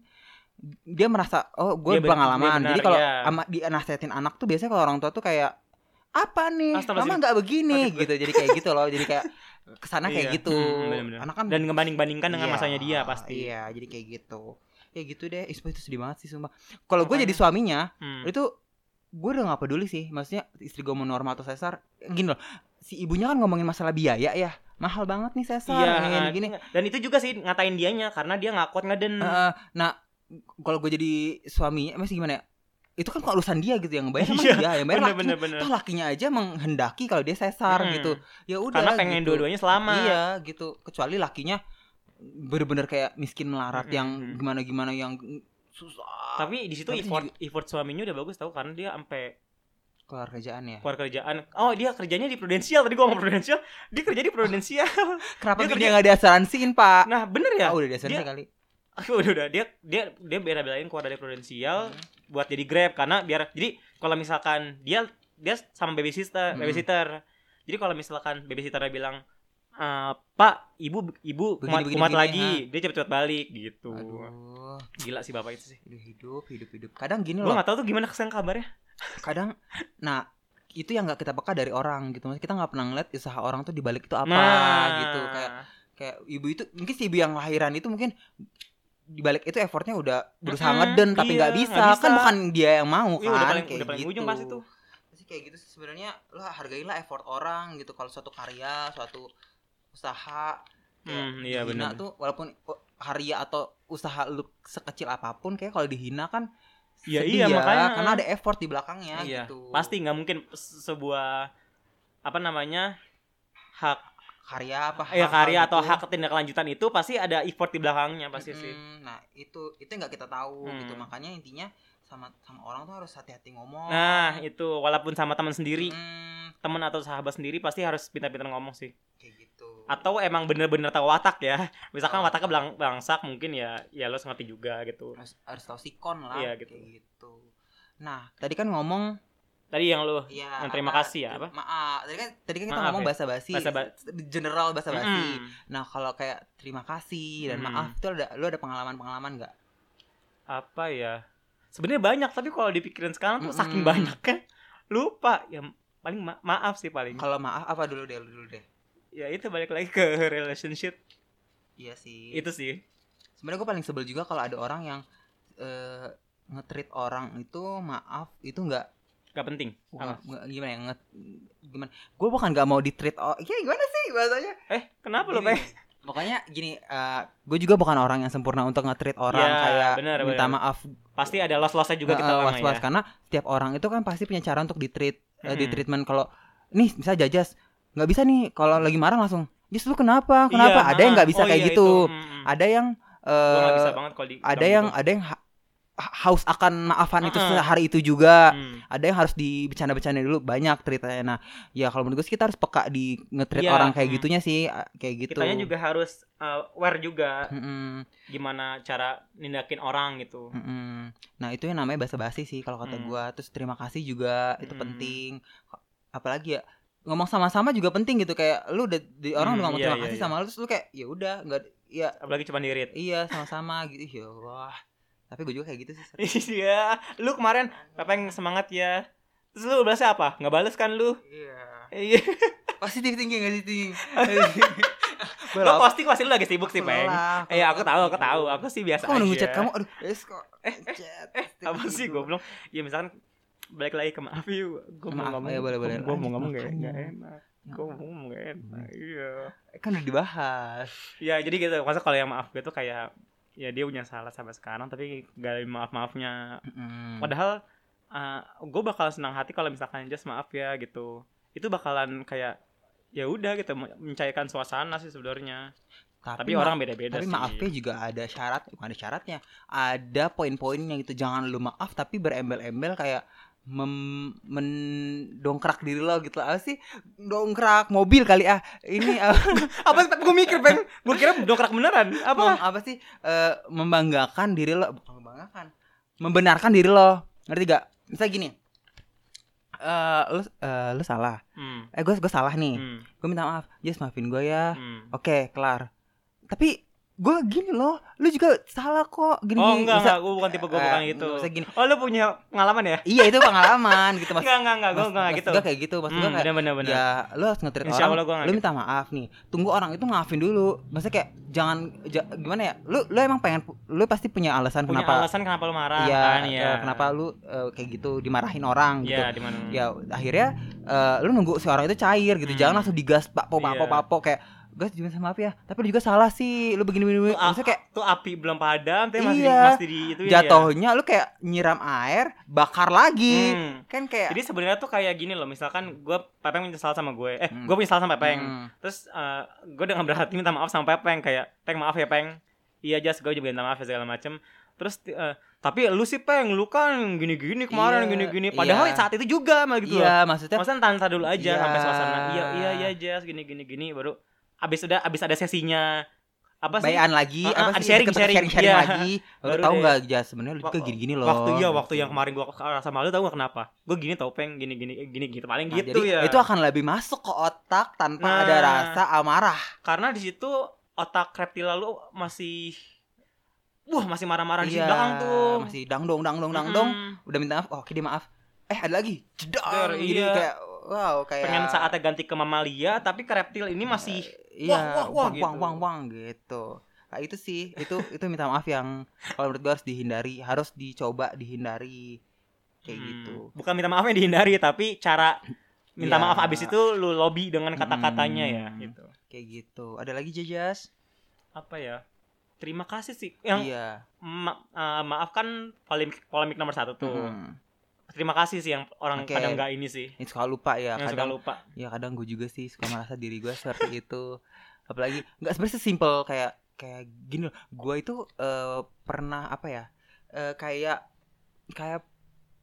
[SPEAKER 1] dia merasa oh gue
[SPEAKER 2] Dia ben- dia
[SPEAKER 1] pengalaman
[SPEAKER 2] benar,
[SPEAKER 1] jadi kalau
[SPEAKER 2] iya.
[SPEAKER 1] ama di nasehatin anak tuh biasanya kalau orang tua tuh kayak apa nih
[SPEAKER 2] Astagfirullahaladzim.
[SPEAKER 1] mama nggak begini
[SPEAKER 2] Maksud gue.
[SPEAKER 1] gitu jadi kayak gitu loh jadi kayak kesana kayak
[SPEAKER 2] Iya,
[SPEAKER 1] gitu
[SPEAKER 2] mm, benar-benar.
[SPEAKER 1] anak kan
[SPEAKER 2] dan ngebanding-bandingkan dengan
[SPEAKER 1] Iya,
[SPEAKER 2] masanya dia pasti
[SPEAKER 1] iya jadi kayak gitu ya gitu deh Ih, sumpah itu sedih banget sih sumpah kalau gue
[SPEAKER 2] Makanya.
[SPEAKER 1] jadi suaminya
[SPEAKER 2] Hmm.
[SPEAKER 1] itu gue udah gak peduli sih maksudnya istri gue mau normal atau sesar gini loh si ibunya kan ngomongin masalah biaya ya mahal banget nih sesar gini,
[SPEAKER 2] iya
[SPEAKER 1] gini.
[SPEAKER 2] dan itu juga sih ngatain dianya karena dia nggak kuat ngeden
[SPEAKER 1] Heeh, nah, kalau gue jadi suaminya masih gimana ya? Itu kan urusan dia gitu yang ngebayar sama
[SPEAKER 2] Iya,
[SPEAKER 1] dia, yang bayar
[SPEAKER 2] bener
[SPEAKER 1] lakinya.
[SPEAKER 2] bener bener
[SPEAKER 1] Toh lakinya aja menghendaki kalau dia sesar
[SPEAKER 2] Hmm.
[SPEAKER 1] gitu. Ya udah
[SPEAKER 2] karena pengen
[SPEAKER 1] gitu.
[SPEAKER 2] dua-duanya selamat
[SPEAKER 1] Iya, gitu. Kecuali lakinya bener-bener kayak miskin melarat
[SPEAKER 2] Mm-mm.
[SPEAKER 1] yang gimana-gimana yang susah
[SPEAKER 2] tapi di situ
[SPEAKER 1] Tapi
[SPEAKER 2] effort effort suaminya udah bagus tau karena dia sampai
[SPEAKER 1] keluar kerjaan ya.
[SPEAKER 2] keluar kerjaan oh dia kerjanya di prudensial tadi gua ngomong prudensial dia kerja di prudensial
[SPEAKER 1] Kenapa
[SPEAKER 2] Dia
[SPEAKER 1] dia
[SPEAKER 2] kerja-
[SPEAKER 1] nggak diasuransiin pak?
[SPEAKER 2] [laughs] nah bener ya
[SPEAKER 1] Ah udah diasuransi
[SPEAKER 2] Dia-
[SPEAKER 1] kali.
[SPEAKER 2] [laughs] udah udah dia dia dia bela-belain keluar dari prudensial buat jadi grab karena biar jadi kalau misalkan dia dia sama
[SPEAKER 1] Hmm.
[SPEAKER 2] babysitter babysitter jadi kalau misalkan babysitternya bilang "Eh, pak ibu ibu
[SPEAKER 1] Begini,
[SPEAKER 2] kumat,
[SPEAKER 1] begini,
[SPEAKER 2] kumat
[SPEAKER 1] begini, ah.
[SPEAKER 2] lagi dia cepet-cepet balik gitu
[SPEAKER 1] Aduh,
[SPEAKER 2] gila sih bapak itu sih
[SPEAKER 1] hidup hidup hidup hidup. Kadang gini loh,
[SPEAKER 2] gua nggak tahu tuh gimana kesan kabarnya
[SPEAKER 1] kadang. Nah itu yang nggak kita peka dari orang gitu. Maksudnya kita nggak pernah ngeliat usaha orang tuh dibalik itu apa
[SPEAKER 2] Nah.
[SPEAKER 1] gitu. Kayak kayak ibu itu mungkin si ibu yang lahiran itu mungkin dibalik itu effortnya udah berusaha
[SPEAKER 2] Mm-mm,
[SPEAKER 1] ngeden tapi
[SPEAKER 2] iya,
[SPEAKER 1] nggak bisa.
[SPEAKER 2] nggak
[SPEAKER 1] kan
[SPEAKER 2] bisa.
[SPEAKER 1] bukan dia yang mau
[SPEAKER 2] Iya,
[SPEAKER 1] kan
[SPEAKER 2] udah paling
[SPEAKER 1] kayak
[SPEAKER 2] udah paling
[SPEAKER 1] gitu.
[SPEAKER 2] ujung pasti tuh
[SPEAKER 1] Pasti kayak gitu sih sebenarnya lo hargailah effort orang gitu kalau suatu karya suatu usaha kayak
[SPEAKER 2] Hmm, iya
[SPEAKER 1] dihina
[SPEAKER 2] benar.
[SPEAKER 1] tuh walaupun u- karya atau usaha lu sekecil apapun kayak kalau dihina kan
[SPEAKER 2] Iya,
[SPEAKER 1] sedih
[SPEAKER 2] iya, makanya.
[SPEAKER 1] karena ada effort di belakangnya
[SPEAKER 2] Iya,
[SPEAKER 1] gitu
[SPEAKER 2] pasti nggak mungkin se- sebuah apa namanya hak
[SPEAKER 1] karya apa
[SPEAKER 2] ya
[SPEAKER 1] hal-hal
[SPEAKER 2] karya atau
[SPEAKER 1] gitu.
[SPEAKER 2] hak ketindaklanjutan itu pasti ada effort di belakangnya pasti sih.
[SPEAKER 1] Mm-mm. nah itu itu nggak kita tahu
[SPEAKER 2] Hmm.
[SPEAKER 1] gitu makanya intinya sama sama orang tuh harus hati-hati ngomong
[SPEAKER 2] Nah, itu walaupun sama teman sendiri,
[SPEAKER 1] Mm,
[SPEAKER 2] teman atau sahabat sendiri pasti harus pintar-pintar ngomong sih.
[SPEAKER 1] kayak gitu
[SPEAKER 2] Atau emang bener-bener tahu watak ya. [laughs] Misalkan
[SPEAKER 1] Tahu
[SPEAKER 2] wataknya
[SPEAKER 1] watak.
[SPEAKER 2] belang- belangsak mungkin ya ya lo ngerti juga gitu.
[SPEAKER 1] harus harus tahu sikon lah
[SPEAKER 2] Iya,
[SPEAKER 1] gitu.
[SPEAKER 2] gitu.
[SPEAKER 1] kayak gitu nah tadi kan ngomong
[SPEAKER 2] Tadi yang lo
[SPEAKER 1] ya
[SPEAKER 2] Yang terima
[SPEAKER 1] apa-
[SPEAKER 2] kasih ya, apa?
[SPEAKER 1] maaf tadi kan tadi kan kita
[SPEAKER 2] Maaf
[SPEAKER 1] ngomong
[SPEAKER 2] ya.
[SPEAKER 1] bahasa basi
[SPEAKER 2] Bahasa ba-
[SPEAKER 1] general bahasa basi
[SPEAKER 2] Mm-mm.
[SPEAKER 1] Nah kalau kayak terima kasih dan
[SPEAKER 2] Hmm.
[SPEAKER 1] maaf itu ada lu ada pengalaman-pengalaman nggak?
[SPEAKER 2] apa ya? Sebenarnya banyak tapi kalau dipikirin sekarang tuh saking
[SPEAKER 1] Mm-mm.
[SPEAKER 2] banyak kan lupa ya paling ma- maaf sih paling.
[SPEAKER 1] Kalau maaf apa dulu deh lu dulu deh.
[SPEAKER 2] ya itu balik lagi ke [laughs] relationship
[SPEAKER 1] Iya sih.
[SPEAKER 2] itu sih
[SPEAKER 1] Sebenarnya gue paling sebel juga kalau ada orang yang eh ngetrit orang itu maaf itu nggak
[SPEAKER 2] gak penting
[SPEAKER 1] bukan-
[SPEAKER 2] Apa?
[SPEAKER 1] nggak- gimana ya nge, gimana gue bukan nggak mau ditreat oh ya gimana sih bahasanya
[SPEAKER 2] eh kenapa lo
[SPEAKER 1] Gini,
[SPEAKER 2] Bay?
[SPEAKER 1] pokoknya gini gue juga bukan orang yang sempurna untuk ngetrit orang
[SPEAKER 2] Ya,
[SPEAKER 1] kayak
[SPEAKER 2] benar,
[SPEAKER 1] minta
[SPEAKER 2] benar.
[SPEAKER 1] maaf
[SPEAKER 2] pasti ada loss lossnya juga kita
[SPEAKER 1] Heeh,
[SPEAKER 2] lama
[SPEAKER 1] Eh, was-was
[SPEAKER 2] ya
[SPEAKER 1] karena setiap orang itu kan pasti punya cara untuk di treat eh, di
[SPEAKER 2] Mm-mm.
[SPEAKER 1] treatment kalau nih bisa jajas nggak bisa nih kalau lagi marah langsung Jas lu kenapa kenapa ada yang
[SPEAKER 2] ah,
[SPEAKER 1] nggak bisa
[SPEAKER 2] oh
[SPEAKER 1] kayak
[SPEAKER 2] iya,
[SPEAKER 1] gitu
[SPEAKER 2] itu. Mm, mm.
[SPEAKER 1] ada yang
[SPEAKER 2] Gua nggak
[SPEAKER 1] eh,
[SPEAKER 2] bisa banget kalau di
[SPEAKER 1] ada
[SPEAKER 2] bilang
[SPEAKER 1] yang
[SPEAKER 2] gitu.
[SPEAKER 1] ada yang ha- ha- haus akan maafan itu
[SPEAKER 2] Heeh.
[SPEAKER 1] sehari itu juga
[SPEAKER 2] Mm.
[SPEAKER 1] ada gitu. yang harus dibecanda-becanda dulu banyak ceritanya nah ya kalau menurut gue sih kita harus peka di ngetrit
[SPEAKER 2] Iya,
[SPEAKER 1] orang kayak
[SPEAKER 2] mm.
[SPEAKER 1] gitunya sih ah, kayak gitu
[SPEAKER 2] kitanya juga harus uh, aware juga
[SPEAKER 1] Mm-mm,
[SPEAKER 2] gimana cara nindakin orang gitu
[SPEAKER 1] mm-mm. nah itu yang namanya basa basi sih kalau kata
[SPEAKER 2] Mm.
[SPEAKER 1] gua terus terima kasih juga itu
[SPEAKER 2] Mm.
[SPEAKER 1] penting apalagi ya ngomong sama-sama juga penting gitu kayak lu udah di orang
[SPEAKER 2] Mm,
[SPEAKER 1] udah ngomong
[SPEAKER 2] iya,
[SPEAKER 1] terima
[SPEAKER 2] iya,
[SPEAKER 1] kasih
[SPEAKER 2] iya.
[SPEAKER 1] sama lu terus lu kayak ya udah nggak ya
[SPEAKER 2] apalagi cuma dirit [laughs]
[SPEAKER 1] iya sama-sama gitu Ih, ya Allah tapi gue juga kayak gitu sih sering.
[SPEAKER 2] iya lu kemarin apa yang semangat ya terus lu balasnya apa nggak balas kan lu
[SPEAKER 1] iya
[SPEAKER 2] iya
[SPEAKER 1] positif tinggi nggak
[SPEAKER 2] [laughs]
[SPEAKER 1] sih tinggi
[SPEAKER 2] lu pasti pasti lu lagi sibuk sih peng Iya aku tahu aku tahu aku sih biasa
[SPEAKER 1] gitu. aku nunggu
[SPEAKER 2] aja. Eh,
[SPEAKER 1] chat kamu aduh es kok chat
[SPEAKER 2] apa sih goblok ya misalkan balik lagi ke maaf yuk gue mau
[SPEAKER 1] Maaf,
[SPEAKER 2] ngomong
[SPEAKER 1] ya, boleh, boleh.
[SPEAKER 2] gue mau
[SPEAKER 1] Lanjut,
[SPEAKER 2] ngomong gak,
[SPEAKER 1] makanya.
[SPEAKER 2] gak enak gue mau ngomong gak enak iya
[SPEAKER 1] kan udah dibahas
[SPEAKER 2] ya jadi gitu masa kalau yang maaf gue tuh kayak ya dia punya salah sampai sekarang tapi gak ada maaf maafnya
[SPEAKER 1] Mm.
[SPEAKER 2] padahal gue bakal senang hati kalau misalkan just maaf ya gitu itu bakalan kayak ya udah gitu men- mencairkan suasana sih sebenarnya tapi
[SPEAKER 1] ma-
[SPEAKER 2] orang beda-beda
[SPEAKER 1] tapi
[SPEAKER 2] sih
[SPEAKER 1] maafnya juga ada syarat bukan ada syaratnya ada poin-poinnya gitu jangan lu maaf tapi berembel-embel kayak mem- mendongkrak diri lo gitu apa sih dongkrak mobil kali ah ini
[SPEAKER 2] [laughs]
[SPEAKER 1] apa,
[SPEAKER 2] apa gue mikir peng gue kira dongkrak beneran [laughs] apa
[SPEAKER 1] mem- apa sih Eh, membanggakan diri lo bukan membanggakan membenarkan diri lo ngerti gak misalnya gini eh lu eh, lu salah
[SPEAKER 2] hmm.
[SPEAKER 1] eh gue gue salah nih
[SPEAKER 2] Hmm.
[SPEAKER 1] gue minta maaf just maafin gue ya
[SPEAKER 2] Hmm.
[SPEAKER 1] oke kelar tapi gue gini loh lu juga salah kok gini
[SPEAKER 2] Oh
[SPEAKER 1] gini.
[SPEAKER 2] enggak,
[SPEAKER 1] Misal-
[SPEAKER 2] enggak, gue bukan tipe gue bukan
[SPEAKER 1] Eh,
[SPEAKER 2] gitu.
[SPEAKER 1] maksudnya gini.
[SPEAKER 2] Oh lu punya pengalaman ya?
[SPEAKER 1] Iya itu pengalaman gitu mas.
[SPEAKER 2] Enggak, enggak, enggak, gue enggak gitu.
[SPEAKER 1] Gue kayak gitu, maksud gue
[SPEAKER 2] Hmm,
[SPEAKER 1] kayak
[SPEAKER 2] bener, bener, bener.
[SPEAKER 1] ya lu harus ngetrit
[SPEAKER 2] Insya
[SPEAKER 1] orang.
[SPEAKER 2] Allah gua gitu. nggak
[SPEAKER 1] lu minta maaf nih. Tunggu orang itu maafin dulu. Maksudnya kayak jangan ja- gimana ya? Lu lu emang pengen lu pasti punya alasan
[SPEAKER 2] Punya
[SPEAKER 1] kenapa
[SPEAKER 2] alasan kenapa lu marah
[SPEAKER 1] iya
[SPEAKER 2] kan ya?
[SPEAKER 1] eh, kenapa lu eh, kayak gitu dimarahin orang gitu.
[SPEAKER 2] Iya, di mana?
[SPEAKER 1] Ya akhirnya eh, lu nunggu si orang itu cair gitu.
[SPEAKER 2] Hmm.
[SPEAKER 1] Jangan langsung digas pak po
[SPEAKER 2] Iya.
[SPEAKER 1] papo papo kayak gue cuma sama apa ya tapi juga salah sih lu begini begini, begini.
[SPEAKER 2] Ah,
[SPEAKER 1] maksudnya kayak
[SPEAKER 2] tuh api belum padam tapi masih
[SPEAKER 1] Iya.
[SPEAKER 2] masih di itu ya?
[SPEAKER 1] jatuhnya lu kayak nyiram air bakar lagi
[SPEAKER 2] Hmm.
[SPEAKER 1] kan kayak
[SPEAKER 2] Jadi sebenarnya tuh kayak gini loh, misalkan gue Pepeng menyesal sama gue, eh
[SPEAKER 1] Hmm.
[SPEAKER 2] gue menyesal sama Pepeng,
[SPEAKER 1] Hmm.
[SPEAKER 2] terus gue dengan berhati minta maaf sama Pepeng kayak, Peng maaf ya Peng, iya jas gue juga minta maaf ya segala macem, terus eh, tapi lu sih Peng, lu kan gini-gini kemarin
[SPEAKER 1] Iya,
[SPEAKER 2] gini-gini,
[SPEAKER 1] iya.
[SPEAKER 2] padahal saat itu juga malah gitu loh,
[SPEAKER 1] iya maksudnya
[SPEAKER 2] maksudnya tahan dulu aja
[SPEAKER 1] Iya.
[SPEAKER 2] sampai suasana, iya iya iya jas gini-gini gini, baru abis udah abis ada sesinya apa sih?
[SPEAKER 1] bayaran lagi
[SPEAKER 2] Ah, ah,
[SPEAKER 1] apa sih
[SPEAKER 2] sharing,
[SPEAKER 1] deket-deket
[SPEAKER 2] sharing.
[SPEAKER 1] sharing
[SPEAKER 2] Iya.
[SPEAKER 1] lagi lu
[SPEAKER 2] Baru
[SPEAKER 1] tahu
[SPEAKER 2] deh.
[SPEAKER 1] nggak jas sebenarnya lu
[SPEAKER 2] Wak-
[SPEAKER 1] juga gini gini loh
[SPEAKER 2] Waktu iya waktu yang kemarin gue rasa malu tau gak kenapa? Gue gini tau Peng, gini-gini gini gitu paling
[SPEAKER 1] Nah,
[SPEAKER 2] gitu
[SPEAKER 1] jadi
[SPEAKER 2] ya.
[SPEAKER 1] itu akan lebih masuk ke otak tanpa
[SPEAKER 2] Nah.
[SPEAKER 1] ada rasa amarah
[SPEAKER 2] karena di situ otak reptila lu masih wah masih marah-marah di
[SPEAKER 1] Iya,
[SPEAKER 2] belakang tuh
[SPEAKER 1] masih dang dong dang dong dang
[SPEAKER 2] Mm-mm.
[SPEAKER 1] dong udah minta maaf oh, oke dia maaf eh ada lagi jedar
[SPEAKER 2] Jedar,
[SPEAKER 1] jadi
[SPEAKER 2] iya.
[SPEAKER 1] kayak wow kayak
[SPEAKER 2] pengen saatnya ganti ke mamalia tapi ke reptil ini masih
[SPEAKER 1] iya
[SPEAKER 2] wah, wah,
[SPEAKER 1] wang wang
[SPEAKER 2] gitu.
[SPEAKER 1] wang wang gitu Nah, itu sih itu itu minta maaf yang kalau menurut gue harus dihindari harus dicoba dihindari kayak
[SPEAKER 2] Hmm,
[SPEAKER 1] gitu
[SPEAKER 2] bukan minta maafnya dihindari tapi cara
[SPEAKER 1] Iya.
[SPEAKER 2] minta maaf abis itu lu lobby dengan kata-katanya ya
[SPEAKER 1] Hmm.
[SPEAKER 2] gitu
[SPEAKER 1] kayak gitu ada lagi jajas
[SPEAKER 2] apa ya terima kasih sih yang
[SPEAKER 1] iya
[SPEAKER 2] ma- eh, maaf kan polemik polemik nomor satu tuh
[SPEAKER 1] Mm-mm.
[SPEAKER 2] terima kasih sih yang
[SPEAKER 1] Hmm.
[SPEAKER 2] orang
[SPEAKER 1] Oke.
[SPEAKER 2] kadang nggak ini sih
[SPEAKER 1] ini suka lupa ya
[SPEAKER 2] yang suka
[SPEAKER 1] kadang
[SPEAKER 2] lupa
[SPEAKER 1] ya kadang gue juga sih suka merasa diri gue seperti itu apalagi nggak sebenarnya sesimpel kayak kayak gini loh gue itu eh, pernah apa ya eh, kayak kayak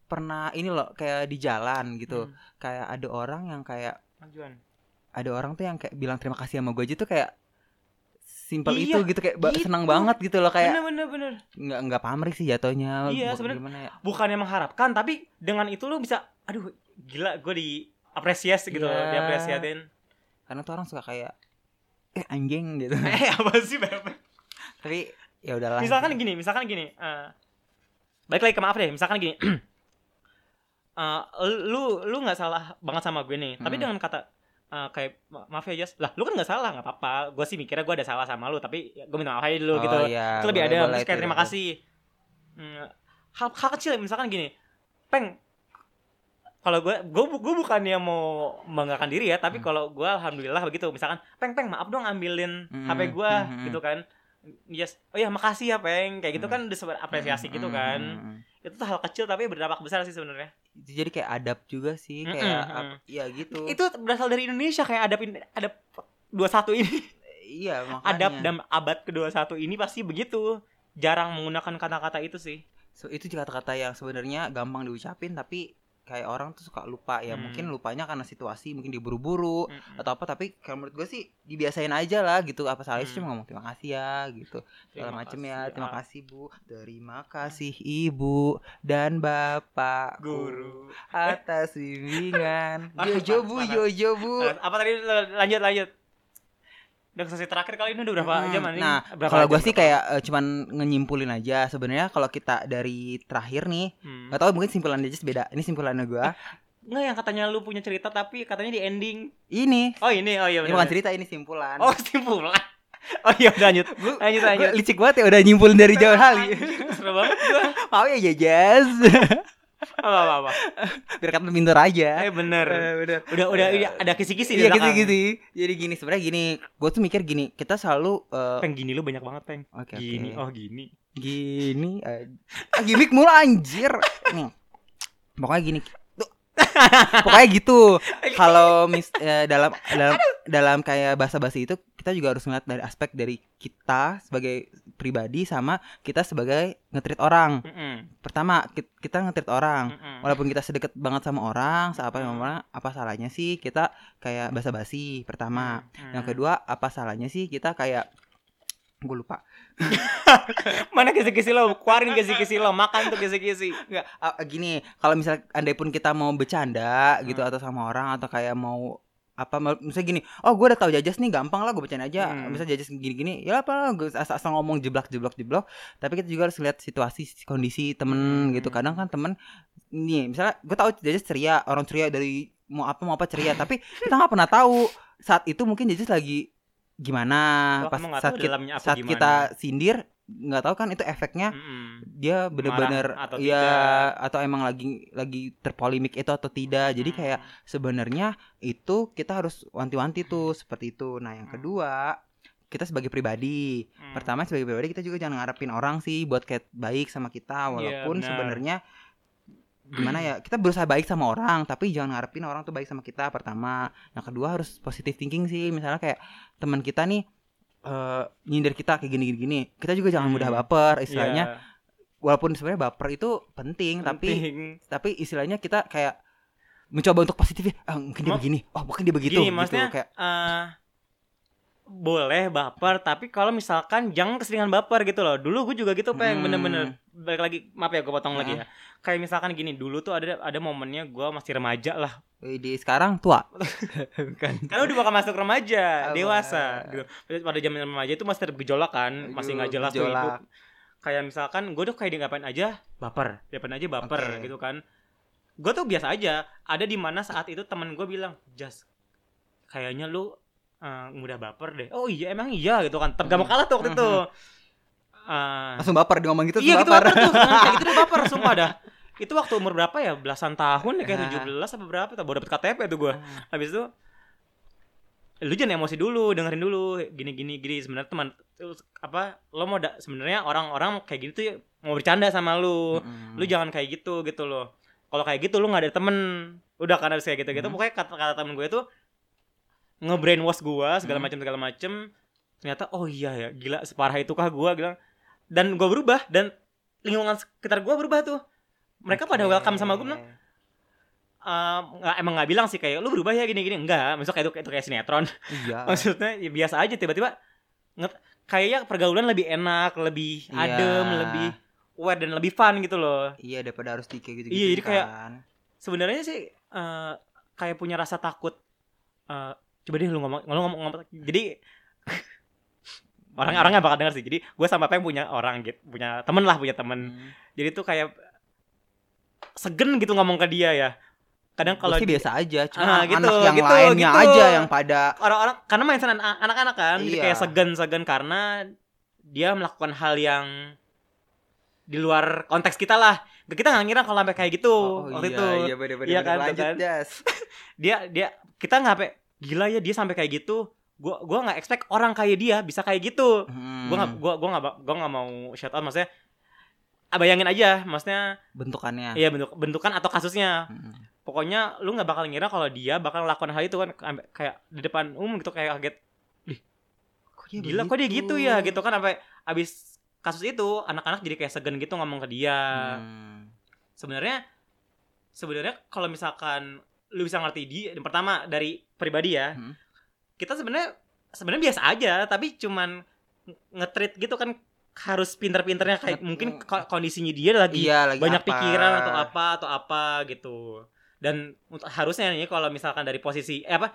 [SPEAKER 1] pernah ini loh kayak di jalan gitu
[SPEAKER 2] Hmm.
[SPEAKER 1] kayak ada orang yang kayak
[SPEAKER 2] Majuan.
[SPEAKER 1] ada orang tuh yang kayak bilang terima kasih sama gue aja tuh kayak simpel
[SPEAKER 2] Iya,
[SPEAKER 1] itu gitu kayak ba-
[SPEAKER 2] gitu.
[SPEAKER 1] senang banget gitu loh kayak
[SPEAKER 2] bener bener bener
[SPEAKER 1] nggak nggak pamrih sih jatuhnya bukan
[SPEAKER 2] Iya, sebenarnya-
[SPEAKER 1] gimana ya
[SPEAKER 2] bukannya mengharapkan tapi dengan itu lu bisa aduh gila gue diapresiasi gitu loh
[SPEAKER 1] Iya.
[SPEAKER 2] diapresiatin [laughs]
[SPEAKER 1] karena tuh orang suka kayak eh anjing
[SPEAKER 2] [laughs]
[SPEAKER 1] gitu
[SPEAKER 2] eh apa sih Beb?
[SPEAKER 1] tapi ya udahlah
[SPEAKER 2] misalkan gini misalkan gini eh balik lagi ke maaf deh misalkan gini [clears throat] Eh, lu lu nggak salah banget sama gue nih tapi
[SPEAKER 1] Hmm.
[SPEAKER 2] dengan kata eh, kayak "Ma- maaf ya Jas lah lu kan nggak salah nggak apa-apa gue sih mikirnya gue ada salah sama lu tapi ya, gue minta maaf aja dulu
[SPEAKER 1] Oh,
[SPEAKER 2] gitu
[SPEAKER 1] iya,
[SPEAKER 2] Terus lebih ada
[SPEAKER 1] boleh-boleh
[SPEAKER 2] terus kayak
[SPEAKER 1] itu,
[SPEAKER 2] terima
[SPEAKER 1] boleh.
[SPEAKER 2] kasih Hmm, hal, hal kecil ya, misalkan gini peng kalau gue gue bu- gue bukannya mau membanggakan diri ya tapi
[SPEAKER 1] Hmm.
[SPEAKER 2] kalau gue alhamdulillah begitu misalkan peng peng maaf dong ambilin
[SPEAKER 1] Hmm,
[SPEAKER 2] hp gue
[SPEAKER 1] hmm, hmm.
[SPEAKER 2] gitu kan yes oh ya makasih ya peng kayak gitu
[SPEAKER 1] Hmm.
[SPEAKER 2] kan udah sebuah apresiasi gitu kan
[SPEAKER 1] Mm-mm.
[SPEAKER 2] itu tuh hal kecil tapi berdampak besar sih sebenarnya
[SPEAKER 1] jadi kayak adab juga sih
[SPEAKER 2] Mm-mm,
[SPEAKER 1] kayak
[SPEAKER 2] mm-mm.
[SPEAKER 1] ap- ya gitu
[SPEAKER 2] itu berasal dari Indonesia kayak adab in- adab 21 ini
[SPEAKER 1] iya makanya
[SPEAKER 2] adab dan abad ke-21 ini pasti begitu jarang menggunakan kata-kata itu sih
[SPEAKER 1] So, itu juga kata-kata yang sebenarnya gampang diucapin tapi kayak orang tuh suka lupa ya
[SPEAKER 2] Hmm.
[SPEAKER 1] mungkin lupanya karena situasi mungkin diburu-buru
[SPEAKER 2] Mm-mm.
[SPEAKER 1] atau apa tapi kalau menurut gue sih dibiasain aja lah gitu apa salahnya sih cuma
[SPEAKER 2] Hmm.
[SPEAKER 1] ngomong terima kasih ya gitu segala
[SPEAKER 2] Terima
[SPEAKER 1] macem ya
[SPEAKER 2] kasih,
[SPEAKER 1] terima
[SPEAKER 2] ah,
[SPEAKER 1] kasih bu terima kasih ibu dan bapak
[SPEAKER 2] guru
[SPEAKER 1] atas
[SPEAKER 2] [laughs]
[SPEAKER 1] bimbingan
[SPEAKER 2] Ah,
[SPEAKER 1] jojo bu
[SPEAKER 2] mana?
[SPEAKER 1] jojo bu
[SPEAKER 2] Eh, apa tadi L- lanjut lanjut udah sesi terakhir kali ini udah berapa
[SPEAKER 1] Hmm,
[SPEAKER 2] jam ini
[SPEAKER 1] nah,
[SPEAKER 2] berapa
[SPEAKER 1] kalau
[SPEAKER 2] jam,
[SPEAKER 1] gue sih
[SPEAKER 2] berapa?
[SPEAKER 1] kayak eh, cuman ngenyimpulin aja sebenarnya kalau kita dari terakhir nih
[SPEAKER 2] Hmm.
[SPEAKER 1] nggak tahu mungkin simpulan aja beda ini simpulannya gue
[SPEAKER 2] [laughs] nggak yang katanya lu punya cerita tapi katanya di ending
[SPEAKER 1] ini
[SPEAKER 2] oh ini oh iya
[SPEAKER 1] ini
[SPEAKER 2] benar
[SPEAKER 1] bukan cerita ini simpulan
[SPEAKER 2] oh simpulan [laughs] oh iya udah lanjut
[SPEAKER 1] Gua-
[SPEAKER 2] lanjut
[SPEAKER 1] Gua
[SPEAKER 2] lanjut
[SPEAKER 1] licik banget ya udah nyimpulin dari jauh
[SPEAKER 2] [laughs]
[SPEAKER 1] kali
[SPEAKER 2] Anjir, seru banget gua
[SPEAKER 1] mau ya jajas
[SPEAKER 2] apa apa apa
[SPEAKER 1] [laughs] biar kata pintar aja
[SPEAKER 2] eh bener
[SPEAKER 1] Eh, udah
[SPEAKER 2] udah udah udah ada kisi-kisi di
[SPEAKER 1] iya gitu
[SPEAKER 2] belakang.
[SPEAKER 1] gitu jadi gini sebenarnya gini gue tuh mikir gini kita selalu eh,
[SPEAKER 2] peng gini lu banyak banget peng
[SPEAKER 1] oke oke.
[SPEAKER 2] gini oh gini
[SPEAKER 1] gini eh, ah, gimmick mulu anjir nih pokoknya gini Tuh. pokoknya gitu kalau mis eh, dalam dalam dalam kayak bahasa basi itu kita juga harus ngeliat dari aspek dari kita sebagai pribadi sama kita sebagai ngetrit orang
[SPEAKER 2] Mm-mm,
[SPEAKER 1] pertama ki- kita ngetrit orang
[SPEAKER 2] mm-mm.
[SPEAKER 1] walaupun kita sedekat banget sama orang apa
[SPEAKER 2] Hmm.
[SPEAKER 1] orang apa salahnya sih kita kayak basa basi pertama
[SPEAKER 2] Mm-mm.
[SPEAKER 1] yang kedua apa salahnya sih kita kayak gue lupa
[SPEAKER 2] mana kisi-kisi lo keluarin kisi-kisi lo makan tuh kisi-kisi
[SPEAKER 1] Nggak, ah, gini kalau misalnya andai pun kita mau bercanda gitu
[SPEAKER 2] Hmm.
[SPEAKER 1] atau sama orang atau kayak mau apa mau- misalnya gini oh gue udah tahu jajas nih gampang lah gue bercanda aja
[SPEAKER 2] Hmm.
[SPEAKER 1] misalnya jajas gini gini ya apa gue asal, asal ngomong jeblak jeblak jeblok tapi kita juga harus lihat situasi kondisi temen
[SPEAKER 2] Hmm.
[SPEAKER 1] gitu kadang kan temen nih misalnya gue tahu jajas ceria orang ceria dari mau apa mau apa ceria tapi kita nggak pernah tahu saat itu mungkin jajas lagi gimana
[SPEAKER 2] Wah,
[SPEAKER 1] pas
[SPEAKER 2] kamu nggak
[SPEAKER 1] saat
[SPEAKER 2] tahu
[SPEAKER 1] kita,
[SPEAKER 2] dalamnya apa
[SPEAKER 1] saat
[SPEAKER 2] gimana.
[SPEAKER 1] kita sindir nggak tahu kan itu efeknya
[SPEAKER 2] Mm-mm.
[SPEAKER 1] dia bener-bener
[SPEAKER 2] Marah atau
[SPEAKER 1] ya
[SPEAKER 2] tidak.
[SPEAKER 1] atau emang lagi lagi terpolemik itu atau tidak jadi
[SPEAKER 2] Mm.
[SPEAKER 1] kayak sebenarnya itu kita harus wanti-wanti tuh
[SPEAKER 2] Hmm.
[SPEAKER 1] seperti itu nah yang
[SPEAKER 2] Mm.
[SPEAKER 1] kedua kita sebagai pribadi
[SPEAKER 2] Mm.
[SPEAKER 1] pertama sebagai pribadi kita juga jangan ngarepin orang sih buat kayak baik sama kita walaupun
[SPEAKER 2] Iya, benar. [clears throat]
[SPEAKER 1] sebenarnya gimana ya
[SPEAKER 2] Iya,
[SPEAKER 1] kita berusaha baik sama orang tapi jangan ngarepin orang tuh baik sama kita pertama yang kedua harus positive thinking sih misalnya kayak teman kita nih eh nyindir kita kayak gini gini gini kita juga jangan mudah
[SPEAKER 2] Hmm.
[SPEAKER 1] baper istilahnya
[SPEAKER 2] Iya,
[SPEAKER 1] walaupun sebenarnya baper itu penting, tapi
[SPEAKER 2] penting.
[SPEAKER 1] tapi istilahnya kita kayak mencoba untuk positif ah, mungkin dia
[SPEAKER 2] Ma-
[SPEAKER 1] begini oh mungkin dia begitu
[SPEAKER 2] Gini, maksudnya-
[SPEAKER 1] gitu kayak
[SPEAKER 2] eh boleh baper tapi kalau misalkan jangan keseringan baper gitu loh dulu gue juga gitu
[SPEAKER 1] Hmm.
[SPEAKER 2] pengen bener-bener balik lagi maaf ya gue potong lagi
[SPEAKER 1] Heeh.
[SPEAKER 2] ya kayak misalkan gini dulu tuh ada ada momennya gue masih remaja lah [laughs]
[SPEAKER 1] "Wih, di "Eh, sekarang tua [laughs]
[SPEAKER 2] bukan karena udah bakal masuk remaja
[SPEAKER 1] Apa?
[SPEAKER 2] dewasa gitu. pada zaman remaja itu masih tergejolak kan masih nggak jelas tuh hidup
[SPEAKER 1] gejolak.
[SPEAKER 2] kayak misalkan gue tuh kayak di ngapain aja baper diapain aja baper
[SPEAKER 1] Oke.
[SPEAKER 2] gitu kan gue tuh biasa aja ada di mana saat itu teman gue bilang just kayaknya lu eh, mudah baper deh oh iya emang iya gitu kan tapi gak mau kalah tuh waktu itu
[SPEAKER 1] [laughs]
[SPEAKER 2] Eh,
[SPEAKER 1] langsung baper dia ngomong gitu
[SPEAKER 2] iya gitu
[SPEAKER 1] langsung
[SPEAKER 2] baper tuh kayak gitu udah baper sumpah dah itu waktu umur berapa ya belasan tahun ya kayak
[SPEAKER 1] Ah.
[SPEAKER 2] 17 apa berapa tuh baru dapet KTP tuh gue habis itu lu jangan emosi dulu dengerin dulu gini gini gini sebenarnya teman terus apa lo mau da- sebenarnya orang-orang kayak gitu tuh mau bercanda sama lu
[SPEAKER 1] Mm-mm.
[SPEAKER 2] lu jangan kayak gitu gitu loh kalau kayak gitu lu nggak ada temen udah kan harus kayak gitu gitu
[SPEAKER 1] Hmm.
[SPEAKER 2] pokoknya kata kata temen gue tuh ngebrainwash gue segala
[SPEAKER 1] Hmm.
[SPEAKER 2] macam segala macam ternyata oh iya ya gila separah itu kah gue bilang dan gue berubah dan lingkungan sekitar gue berubah tuh mereka pada
[SPEAKER 1] Oke.
[SPEAKER 2] welcome sama gue bilang "Ehm, nggak- emang nggak bilang sih kayak lu berubah ya gini gini enggak maksudnya kayak itu, itu kayak sinetron
[SPEAKER 1] iya
[SPEAKER 2] maksudnya ya biasa aja tiba-tiba nge- kayaknya pergaulan lebih enak lebih
[SPEAKER 1] Iya.
[SPEAKER 2] adem lebih aware dan lebih fun gitu loh
[SPEAKER 1] iya daripada harus di kayak gitu
[SPEAKER 2] Iya, jadi kayak- sebenarnya sih eh, kayak punya rasa takut eh, coba deh lu ngomong lu ngomong, ngomong jadi [laughs] orang orang nggak bakal denger sih jadi gue sama apa yang punya orang gitu punya temen lah punya temen
[SPEAKER 1] Hmm.
[SPEAKER 2] jadi tuh kayak segen gitu ngomong ke dia ya kadang
[SPEAKER 1] kalau
[SPEAKER 2] kalau
[SPEAKER 1] sih
[SPEAKER 2] di-
[SPEAKER 1] biasa aja cuma
[SPEAKER 2] Ah, gitu,
[SPEAKER 1] anak yang
[SPEAKER 2] gitu,
[SPEAKER 1] lainnya
[SPEAKER 2] gitu.
[SPEAKER 1] aja yang pada
[SPEAKER 2] orang-orang karena mindset an- anak-anak kan jadi
[SPEAKER 1] Iya.
[SPEAKER 2] kayak segan-segan karena dia melakukan hal yang di luar konteks kita lah kita nggak ngira kalau sampai kayak gitu waktu itu
[SPEAKER 1] iya bener-bener
[SPEAKER 2] Iya kan,
[SPEAKER 1] lanjut
[SPEAKER 2] tuh kan.
[SPEAKER 1] Jas.
[SPEAKER 2] dia dia kita nggak sampai gila ya dia sampai kayak gitu gua gua nggak expect orang kayak dia bisa kayak gitu
[SPEAKER 1] Hmm,
[SPEAKER 2] gua nggak gua gua nggak ba- gua nggak mau shout out maksudnya ah, bayangin aja maksudnya
[SPEAKER 1] bentukannya Hmm.
[SPEAKER 2] ya bentuk bentukan atau kasusnya
[SPEAKER 1] Mm-mm.
[SPEAKER 2] pokoknya lu nggak bakal ngira kalau dia bakal lakukan hal itu kan sampai kayak di depan umum gitu kayak kaget
[SPEAKER 1] Kok dia
[SPEAKER 2] gila kok dia gitu ya gitu kan sampai abis kasus itu anak-anak jadi kayak segan gitu ngomong ke dia
[SPEAKER 1] Hmm.
[SPEAKER 2] sebenarnya sebenarnya kalau misalkan lu bisa ngerti dia yang pertama dari pribadi ya
[SPEAKER 1] Hmm.
[SPEAKER 2] kita sebenarnya sebenarnya biasa aja tapi cuman nge- ngetreat gitu kan harus pinter-pinternya kayak
[SPEAKER 1] Nge-
[SPEAKER 2] mungkin ko- kondisinya dia lagi
[SPEAKER 1] oh. iya lagi
[SPEAKER 2] banyak
[SPEAKER 1] apa?
[SPEAKER 2] pikiran atau apa atau apa gitu dan untuk- harusnya nih kalau misalkan dari posisi eh apa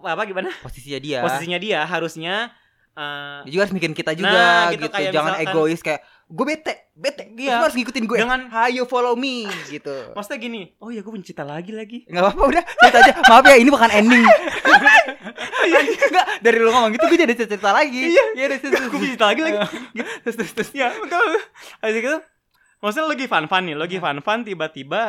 [SPEAKER 2] apa gimana
[SPEAKER 1] posisinya dia
[SPEAKER 2] posisinya dia harusnya eh,
[SPEAKER 1] dia juga harus mikirin kita juga
[SPEAKER 2] Nah,
[SPEAKER 1] gitu,
[SPEAKER 2] gitu, kayak
[SPEAKER 1] jangan
[SPEAKER 2] misalkan-
[SPEAKER 1] egois kayak gue bete bete
[SPEAKER 2] Iya.
[SPEAKER 1] lu harus ngikutin gue
[SPEAKER 2] Dengan-
[SPEAKER 1] hayo follow me gitu
[SPEAKER 2] maksudnya gini oh ya gue pencita lagi lagi
[SPEAKER 1] Gak apa-apa udah cerita aja Maaf ya ini bukan ending
[SPEAKER 2] Iya.
[SPEAKER 1] [laughs] Enggak dari lu ngomong gitu gue jadi cerita lagi Iya [laughs] iya terus terus
[SPEAKER 2] gue pencita lagi lagi
[SPEAKER 1] [laughs] terus terus terus
[SPEAKER 2] ya betul Habis gitu maksudnya lu lagi fun fun nih
[SPEAKER 1] Iya.
[SPEAKER 2] lu lagi fun fun tiba-tiba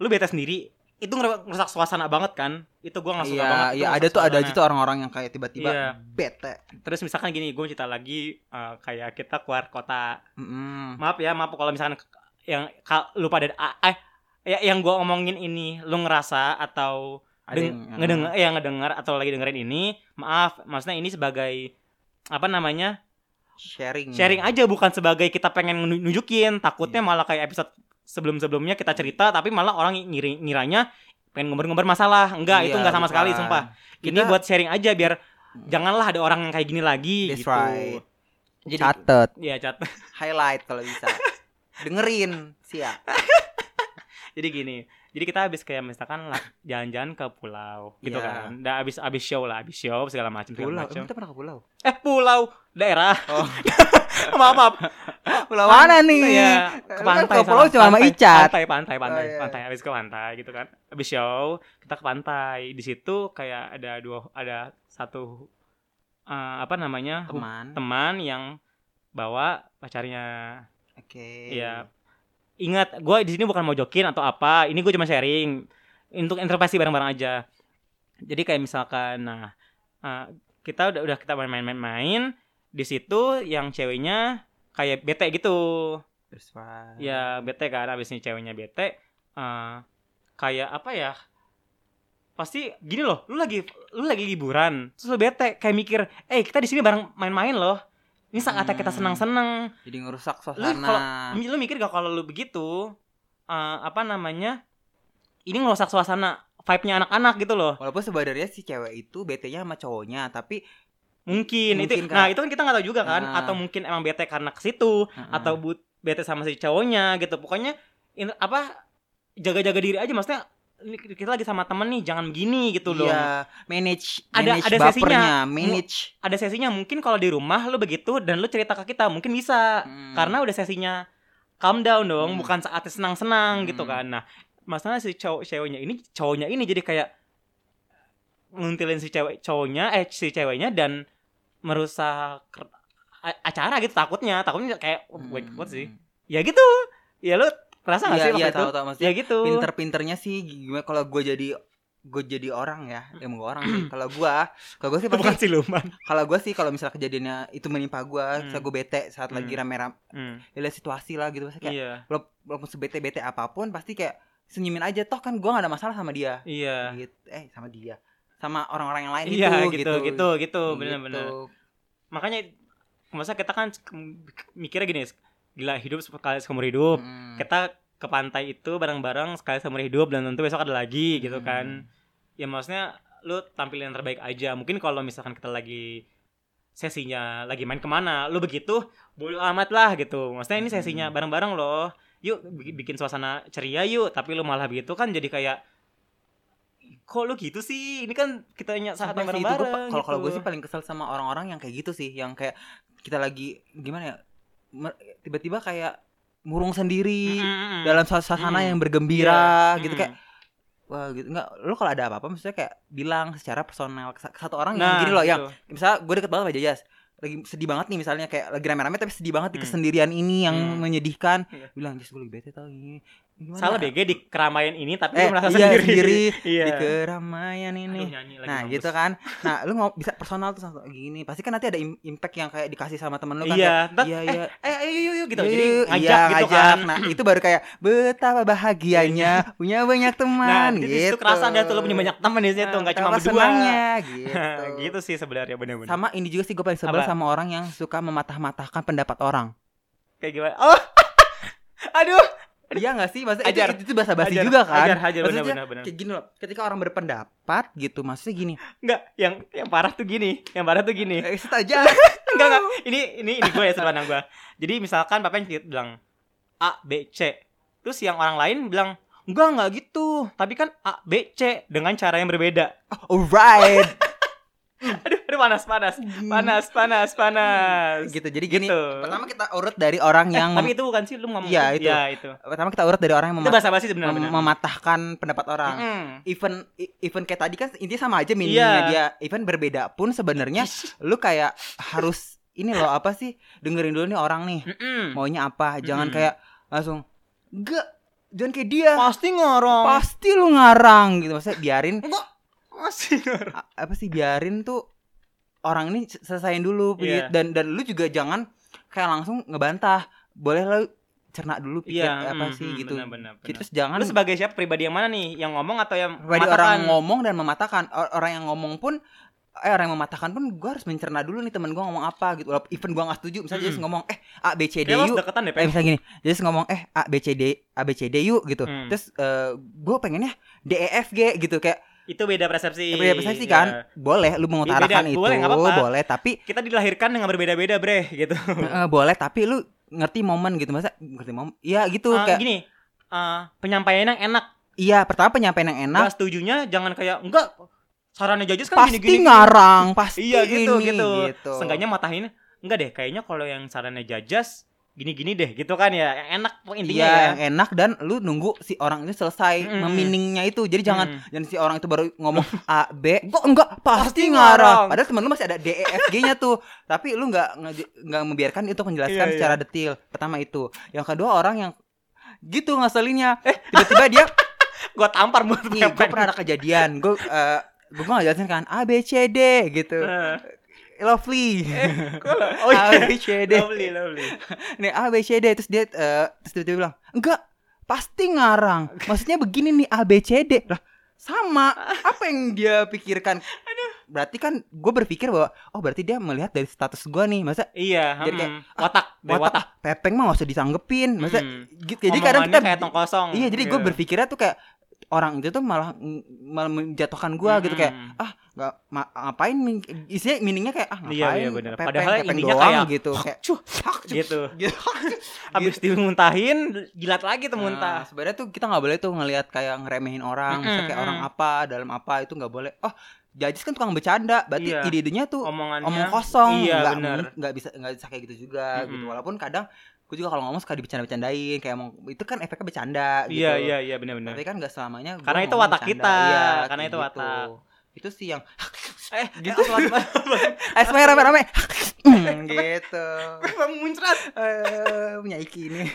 [SPEAKER 2] lu bete sendiri itu ngeru- ngerusak suasana banget kan itu gue nggak suka
[SPEAKER 1] Iya
[SPEAKER 2] banget itu
[SPEAKER 1] iya
[SPEAKER 2] ngerusak
[SPEAKER 1] ada tuh ada
[SPEAKER 2] suasana.
[SPEAKER 1] aja tuh orang-orang yang kayak
[SPEAKER 2] Iya.
[SPEAKER 1] tiba-tiba bete
[SPEAKER 2] terus misalkan gini gue cerita lagi eh, kayak kita keluar kota
[SPEAKER 1] Mm-mm.
[SPEAKER 2] maaf ya maaf kalau misalkan yang ka- lu pada ah, eh ya yang gue omongin ini lu ngerasa atau
[SPEAKER 1] Ada
[SPEAKER 2] deng-
[SPEAKER 1] yang-
[SPEAKER 2] ngedengar ya ngedengar atau lagi dengerin ini maaf maksudnya ini sebagai apa namanya
[SPEAKER 1] sharing
[SPEAKER 2] sharing aja bukan sebagai kita pengen nu-
[SPEAKER 1] Iya.
[SPEAKER 2] nunjukin takutnya malah kayak episode sebelum-sebelumnya kita cerita tapi malah orang ngiri ngiranya pengen ngomber-ngomber masalah enggak itu
[SPEAKER 1] Iya,
[SPEAKER 2] enggak sama sekali
[SPEAKER 1] bukan.
[SPEAKER 2] sumpah ini
[SPEAKER 1] Kita- Hmm.
[SPEAKER 2] buat sharing aja biar janganlah ada orang yang kayak gini lagi
[SPEAKER 1] That's
[SPEAKER 2] gitu
[SPEAKER 1] right.
[SPEAKER 2] jadi
[SPEAKER 1] catet
[SPEAKER 2] ya cat
[SPEAKER 1] highlight kalau bisa [laughs] dengerin siap
[SPEAKER 2] [laughs] jadi gini jadi kita habis kayak misalkan lah, jalan-jalan ke pulau gitu
[SPEAKER 1] Iya.
[SPEAKER 2] kan udah habis habis show lah habis show segala macam segala
[SPEAKER 1] pulau
[SPEAKER 2] macam
[SPEAKER 1] emang kita pernah ke
[SPEAKER 2] [laughs]
[SPEAKER 1] pulau
[SPEAKER 2] eh pulau daerah
[SPEAKER 1] Oh.
[SPEAKER 2] [laughs] maaf maaf
[SPEAKER 1] pulau mana nih
[SPEAKER 2] Iya,
[SPEAKER 1] Lu
[SPEAKER 2] ke
[SPEAKER 1] kan
[SPEAKER 2] pantai
[SPEAKER 1] ke pulau
[SPEAKER 2] sana.
[SPEAKER 1] cuma sama
[SPEAKER 2] Pantai,
[SPEAKER 1] Icat.
[SPEAKER 2] Pantai, pantai, pantai,
[SPEAKER 1] iya.
[SPEAKER 2] pantai. Habis ke pantai gitu kan. Habis show, kita ke pantai. Di situ kayak ada dua ada satu eh, apa namanya?
[SPEAKER 1] teman
[SPEAKER 2] teman yang bawa pacarnya
[SPEAKER 1] Oke.
[SPEAKER 2] Iya. Ingat, gue di sini bukan mau jokin atau apa. Ini gue cuma sharing untuk interpretasi bareng-bareng aja. Jadi kayak misalkan, nah eh, kita udah udah kita main-main-main di situ yang ceweknya kayak bete gitu.
[SPEAKER 1] Terus Pak.
[SPEAKER 2] Ya bete kan, abis ini ceweknya bete. eh, kayak apa ya? Pasti gini loh, lu lagi lu lagi liburan, terus lu bete kayak mikir, eh kita di sini bareng main-main loh. Ini saatnya kita
[SPEAKER 1] Hmm.
[SPEAKER 2] senang-senang
[SPEAKER 1] Jadi ngerusak
[SPEAKER 2] Lu
[SPEAKER 1] suasana.
[SPEAKER 2] Mi- lu mikir gak kalau lu begitu eh, apa namanya ini ngerusak suasana vibe-nya anak-anak gitu loh
[SPEAKER 1] Walaupun sebenarnya si cewek itu BT-nya sama cowoknya, tapi
[SPEAKER 2] mungkin,
[SPEAKER 1] Mungkin,
[SPEAKER 2] itu
[SPEAKER 1] Kak.
[SPEAKER 2] nah itu kan kita nggak tahu juga kan
[SPEAKER 1] Ah.
[SPEAKER 2] atau mungkin emang bete karena ke situ atau but bete sama si cowoknya gitu pokoknya in- apa jaga-jaga diri aja maksudnya ini kita lagi sama temen nih jangan begini gitu loh
[SPEAKER 1] Iya, manage
[SPEAKER 2] Ada-
[SPEAKER 1] manage
[SPEAKER 2] ada
[SPEAKER 1] bapernya,
[SPEAKER 2] sesinya.
[SPEAKER 1] manage.
[SPEAKER 2] ada sesinya mungkin kalau di rumah lu begitu dan lu cerita ke kita mungkin bisa
[SPEAKER 1] Hmm.
[SPEAKER 2] karena udah sesinya calm down dong,
[SPEAKER 1] Hmm.
[SPEAKER 2] bukan saatnya senang-senang gitu
[SPEAKER 1] Hmm.
[SPEAKER 2] kan. Nah, masalah si cowok ceweknya ini cowoknya ini jadi kayak nguntilin si cewek cowoknya eh si ceweknya dan merusak a- acara gitu takutnya takutnya kayak oh, gue
[SPEAKER 1] Hmm.
[SPEAKER 2] takut sih ya gitu ya lu kerasa nggak
[SPEAKER 1] Iya,
[SPEAKER 2] sih waktu
[SPEAKER 1] iya,
[SPEAKER 2] itu
[SPEAKER 1] tahu tahu maksudnya.
[SPEAKER 2] ya gitu
[SPEAKER 1] Pinter-pinternya sih gimana kalau gue jadi gue jadi orang ya, emang gue orang sih. Kalau gue, kalau gue sih
[SPEAKER 2] [laughs] Hmm. itu bukan
[SPEAKER 1] pasti,
[SPEAKER 2] siluman
[SPEAKER 1] kalau gue sih kalau misalnya kejadiannya itu menimpa gue,
[SPEAKER 2] Hmm.
[SPEAKER 1] saya gue bete saat lagi
[SPEAKER 2] Hmm.
[SPEAKER 1] rame-rame,
[SPEAKER 2] Hmm,
[SPEAKER 1] ya lihat situasi lah gitu, pasti [laughs] kayak
[SPEAKER 2] iya
[SPEAKER 1] wala- walaupun sebete-bete apapun, pasti kayak senyumin aja, toh kan gue gak ada masalah sama dia,
[SPEAKER 2] iya
[SPEAKER 1] gitu, eh sama dia, sama orang-orang yang lain
[SPEAKER 2] iya
[SPEAKER 1] itu,
[SPEAKER 2] gitu gitu gitu bener-bener
[SPEAKER 1] Gitu.
[SPEAKER 2] makanya masa kita kan mikirnya gini gila hidup sekali seumur hidup
[SPEAKER 1] Mm.
[SPEAKER 2] Hmm. kita ke pantai itu bareng-bareng sekali seumur hidup dan tentu besok ada lagi
[SPEAKER 1] Hmm.
[SPEAKER 2] gitu kan ya maksudnya lu tampilin yang terbaik aja mungkin kalau misalkan kita lagi sesinya lagi main kemana lu begitu bodo amat lah gitu maksudnya ini sesinya
[SPEAKER 1] Hmm.
[SPEAKER 2] bareng-bareng loh yuk bi- bikin suasana ceria yuk tapi lu malah begitu kan jadi kayak kok lu gitu sih ini kan kita saat
[SPEAKER 1] Sampai sih itu
[SPEAKER 2] bareng-bareng
[SPEAKER 1] gua pa- kalau kalau gue
[SPEAKER 2] gitu.
[SPEAKER 1] sih paling kesel sama orang-orang yang kayak gitu sih yang kayak kita lagi gimana ya mer- tiba-tiba kayak murung sendiri
[SPEAKER 2] Mm-mm.
[SPEAKER 1] dalam suas- suasana
[SPEAKER 2] Mm.
[SPEAKER 1] yang bergembira
[SPEAKER 2] Iya.
[SPEAKER 1] gitu
[SPEAKER 2] Mm.
[SPEAKER 1] kayak wah gitu enggak lo kalau ada apa-apa maksudnya kayak bilang secara personal ke sa- ke satu orang yang
[SPEAKER 2] nah
[SPEAKER 1] gini loh yang
[SPEAKER 2] gitu.
[SPEAKER 1] misalnya gue deket banget sama Jajas lagi sedih banget nih misalnya kayak lagi rame-rame tapi sedih banget di
[SPEAKER 2] Hmm.
[SPEAKER 1] kesendirian ini yang
[SPEAKER 2] Hmm.
[SPEAKER 1] menyedihkan
[SPEAKER 2] Iya.
[SPEAKER 1] bilang Jas gue lagi bete tau ini Gimana
[SPEAKER 2] salah
[SPEAKER 1] ya?"
[SPEAKER 2] BG di keramaian ini tapi
[SPEAKER 1] eh,
[SPEAKER 2] lu merasa
[SPEAKER 1] iya,
[SPEAKER 2] sendiri,
[SPEAKER 1] sendiri
[SPEAKER 2] [laughs] iya
[SPEAKER 1] di keramaian ini
[SPEAKER 2] Aduh, nyanyi lagi
[SPEAKER 1] nah
[SPEAKER 2] mampus.
[SPEAKER 1] gitu kan nah lu mau bisa personal tuh sama gini pasti kan nanti ada im- impact yang kayak dikasih sama temen lu kan
[SPEAKER 2] iya
[SPEAKER 1] kayak,
[SPEAKER 2] ntar,
[SPEAKER 1] iya
[SPEAKER 2] eh,
[SPEAKER 1] iya
[SPEAKER 2] eh ayo yuk yuk gitu
[SPEAKER 1] yuk,
[SPEAKER 2] jadi ngajak
[SPEAKER 1] iya,
[SPEAKER 2] gitu
[SPEAKER 1] ngajak.
[SPEAKER 2] kan [laughs]
[SPEAKER 1] nah itu baru kayak betapa bahagianya punya banyak
[SPEAKER 2] nah
[SPEAKER 1] teman
[SPEAKER 2] di
[SPEAKER 1] gitu
[SPEAKER 2] situ kerasa ada tuh lo punya banyak teman di situ
[SPEAKER 1] Nah,
[SPEAKER 2] nggak cuma
[SPEAKER 1] betapa
[SPEAKER 2] berdua
[SPEAKER 1] senangnya, gitu.
[SPEAKER 2] [laughs] gitu sih sebenarnya benar-benar
[SPEAKER 1] sama ini juga sih gue paling sebel
[SPEAKER 2] Apa?
[SPEAKER 1] sama orang yang suka mematah-matahkan pendapat orang
[SPEAKER 2] kayak gimana oh [laughs] aduh
[SPEAKER 1] iya gak sih maksudnya
[SPEAKER 2] Ajar.
[SPEAKER 1] itu, itu bahasa basi
[SPEAKER 2] Hajar,
[SPEAKER 1] juga kan
[SPEAKER 2] hajar hajar
[SPEAKER 1] Maksudnya,
[SPEAKER 2] benar-benar benar
[SPEAKER 1] kayak gini loh ketika orang berpendapat gitu maksudnya gini
[SPEAKER 2] nggak yang yang parah tuh gini yang parah tuh gini
[SPEAKER 1] eh, set
[SPEAKER 2] [laughs]
[SPEAKER 1] aja
[SPEAKER 2] enggak enggak ini ini ini gue ya sudut pandang gue jadi misalkan papa yang bilang a b c terus yang orang lain bilang enggak enggak gitu tapi kan a b c dengan cara yang berbeda [laughs]
[SPEAKER 1] alright
[SPEAKER 2] aduh aduh panas panas panas panas panas
[SPEAKER 1] gitu jadi gini
[SPEAKER 2] Gitu.
[SPEAKER 1] pertama kita urut dari orang yang
[SPEAKER 2] Eh,
[SPEAKER 1] mem-
[SPEAKER 2] tapi itu bukan sih lu ngomong
[SPEAKER 1] Iya, itu.
[SPEAKER 2] ya, itu.
[SPEAKER 1] pertama kita urut dari orang yang
[SPEAKER 2] Itu
[SPEAKER 1] mema-
[SPEAKER 2] bahasa basi sebenarnya
[SPEAKER 1] mem-
[SPEAKER 2] benar.
[SPEAKER 1] mematahkan pendapat orang
[SPEAKER 2] Mm.
[SPEAKER 1] even i- even kayak tadi kan intinya sama aja mininya
[SPEAKER 2] Iya.
[SPEAKER 1] dia even berbeda pun
[SPEAKER 2] [laughs]
[SPEAKER 1] sebenarnya lu kayak harus ini loh apa sih dengerin dulu nih orang nih
[SPEAKER 2] Mm-mm.
[SPEAKER 1] maunya apa jangan
[SPEAKER 2] Mm.
[SPEAKER 1] kayak langsung enggak jangan kayak dia
[SPEAKER 2] Pasti ngorong.
[SPEAKER 1] pasti lu ngarang gitu maksudnya
[SPEAKER 2] [laughs]
[SPEAKER 1] biarin
[SPEAKER 2] Pasti ngorong.
[SPEAKER 1] a- apa sih biarin tuh orang ini s- selesaiin dulu
[SPEAKER 2] Iya.
[SPEAKER 1] Pit. dan dan lu juga jangan kayak langsung ngebantah boleh lu cerna dulu pikir
[SPEAKER 2] Iya,
[SPEAKER 1] apa
[SPEAKER 2] mm,
[SPEAKER 1] sih
[SPEAKER 2] mm,
[SPEAKER 1] gitu
[SPEAKER 2] benar, benar, benar.
[SPEAKER 1] terus jangan
[SPEAKER 2] Lu sebagai siapa pribadi yang mana nih? Yang ngomong atau yang
[SPEAKER 1] pribadi
[SPEAKER 2] mematahkan?
[SPEAKER 1] orang ngomong dan mematahkan O- orang yang ngomong pun eh orang yang mematahkan pun gue harus mencerna dulu nih teman gue ngomong apa gitu walaupun even gue nggak setuju misalnya
[SPEAKER 2] Mm.
[SPEAKER 1] jadi ngomong eh a b c d
[SPEAKER 2] Kayak lu
[SPEAKER 1] yuk
[SPEAKER 2] harus deketan deh,
[SPEAKER 1] eh
[SPEAKER 2] Pen.
[SPEAKER 1] misalnya gini jadi ngomong eh a b c d a b c d yuk gitu
[SPEAKER 2] Mm.
[SPEAKER 1] terus gue pengennya d e f g gitu kayak
[SPEAKER 2] Itu beda persepsi.
[SPEAKER 1] beda persepsi kan
[SPEAKER 2] Iya.
[SPEAKER 1] boleh lu mengutarakan
[SPEAKER 2] Beda,
[SPEAKER 1] itu
[SPEAKER 2] boleh, nggak apa-apa.
[SPEAKER 1] boleh
[SPEAKER 2] [laughs]
[SPEAKER 1] tapi
[SPEAKER 2] Kita dilahirkan dengan berbeda-beda, Bre, gitu.
[SPEAKER 1] Eh, boleh tapi lu ngerti momen gitu masa ngerti momen iya gitu
[SPEAKER 2] Ah,
[SPEAKER 1] kayak
[SPEAKER 2] gini. ah, penyampaian yang enak.
[SPEAKER 1] iya pertama penyampaian yang enak
[SPEAKER 2] Nggak setujunya jangan kayak enggak sarannya judges kan
[SPEAKER 1] pasti
[SPEAKER 2] gini-gini.
[SPEAKER 1] ngarang pasti
[SPEAKER 2] Iya gitu
[SPEAKER 1] ini,
[SPEAKER 2] gitu. Seenggaknya matahin enggak deh kayaknya kalau yang sarannya jajas gini-gini deh gitu kan ya yang enak intinya
[SPEAKER 1] Iya,
[SPEAKER 2] ya
[SPEAKER 1] yang enak dan lu nunggu si orang itu selesai
[SPEAKER 2] Mm-mm.
[SPEAKER 1] meminingnya itu. Jadi jangan
[SPEAKER 2] Mm.
[SPEAKER 1] jangan si orang itu baru
[SPEAKER 2] [laughs]
[SPEAKER 1] ngomong A B, kok enggak
[SPEAKER 2] Pasti
[SPEAKER 1] pasti, ngarah.
[SPEAKER 2] ngarang.
[SPEAKER 1] Padahal temen lu masih ada D E F G-nya
[SPEAKER 2] [laughs]
[SPEAKER 1] tuh. Tapi lu nggak nge- nggak membiarkan itu menjelaskan
[SPEAKER 2] Iya,
[SPEAKER 1] secara detail. Pertama itu. Yang kedua orang yang gitu ngaselinnya.
[SPEAKER 2] Eh.
[SPEAKER 1] Tiba-tiba
[SPEAKER 2] [laughs]
[SPEAKER 1] dia,
[SPEAKER 2] gue tampar mulut
[SPEAKER 1] nih gue
[SPEAKER 2] pepeng.
[SPEAKER 1] Iya, pernah
[SPEAKER 2] [laughs]
[SPEAKER 1] ada kejadian. Gue eh gue nggak jelasin kan A B C D gitu.
[SPEAKER 2] Eh,
[SPEAKER 1] Lovely.
[SPEAKER 2] gua lo-
[SPEAKER 1] [laughs]
[SPEAKER 2] oh
[SPEAKER 1] A
[SPEAKER 2] iya
[SPEAKER 1] B C D.
[SPEAKER 2] lovely lovely
[SPEAKER 1] nih A B C D terus dia eh, terus tiba-tiba bilang enggak pasti ngarang maksudnya begini nih A B C D lah sama apa yang dia pikirkan berarti kan gue berpikir bahwa oh berarti dia melihat dari status gue nih masa
[SPEAKER 2] iya
[SPEAKER 1] Jadi kayak, "Ah,
[SPEAKER 2] mm, watak dari
[SPEAKER 1] watak,
[SPEAKER 2] watak
[SPEAKER 1] pepeng mah gak usah disanggepin masa
[SPEAKER 2] Mm.
[SPEAKER 1] gitu jadi kadang
[SPEAKER 2] Omongannya
[SPEAKER 1] kita
[SPEAKER 2] kayak gitu. tong kosong
[SPEAKER 1] iya jadi gue berpikirnya tuh kayak orang itu tuh malah malah menjatuhkan gue gitu kayak
[SPEAKER 2] Mm.
[SPEAKER 1] nggak ma- ngapain min- isinya meaningnya kayak ah ngapain
[SPEAKER 2] Iya, iya, bener.
[SPEAKER 1] pepeng,
[SPEAKER 2] Padahal
[SPEAKER 1] pepeng
[SPEAKER 2] ininya
[SPEAKER 1] doang
[SPEAKER 2] kayak,
[SPEAKER 1] gitu kayak
[SPEAKER 2] Cuh, gitu
[SPEAKER 1] gitu.
[SPEAKER 2] abis dimuntahin jilat lagi tuh
[SPEAKER 1] Nah,
[SPEAKER 2] muntah
[SPEAKER 1] sebenarnya tuh kita nggak boleh tuh ngelihat kayak ngeremehin orang, misalnya
[SPEAKER 2] Mm-mm,
[SPEAKER 1] kayak orang
[SPEAKER 2] mm.
[SPEAKER 1] apa, dalam apa itu nggak boleh. Oh, jajis kan tukang bercanda, berarti
[SPEAKER 2] Iya.
[SPEAKER 1] ide-idenya tuh
[SPEAKER 2] omongannya
[SPEAKER 1] omong kosong,
[SPEAKER 2] iya
[SPEAKER 1] nggak
[SPEAKER 2] benar
[SPEAKER 1] mun- nggak bisa nggak bisa kayak gitu juga gitu.
[SPEAKER 2] Mm-mm.
[SPEAKER 1] Walaupun kadang gue juga kalau ngomong suka dibecanda-becandain, kayak emang itu kan efeknya bercanda gitu.
[SPEAKER 2] iya iya iya benar benar
[SPEAKER 1] Tapi kan nggak selamanya. gua
[SPEAKER 2] Karena itu
[SPEAKER 1] ngomong
[SPEAKER 2] watak
[SPEAKER 1] bercanda.
[SPEAKER 2] kita,
[SPEAKER 1] Iya,
[SPEAKER 2] karena
[SPEAKER 1] kayak
[SPEAKER 2] itu watak.
[SPEAKER 1] Itu sih yang
[SPEAKER 2] eh gitu
[SPEAKER 1] [laughs] eh semuanya
[SPEAKER 2] [laughs]
[SPEAKER 1] rame-rame Hmm, gitu.
[SPEAKER 2] muncrat
[SPEAKER 1] Eh, punya iki ini.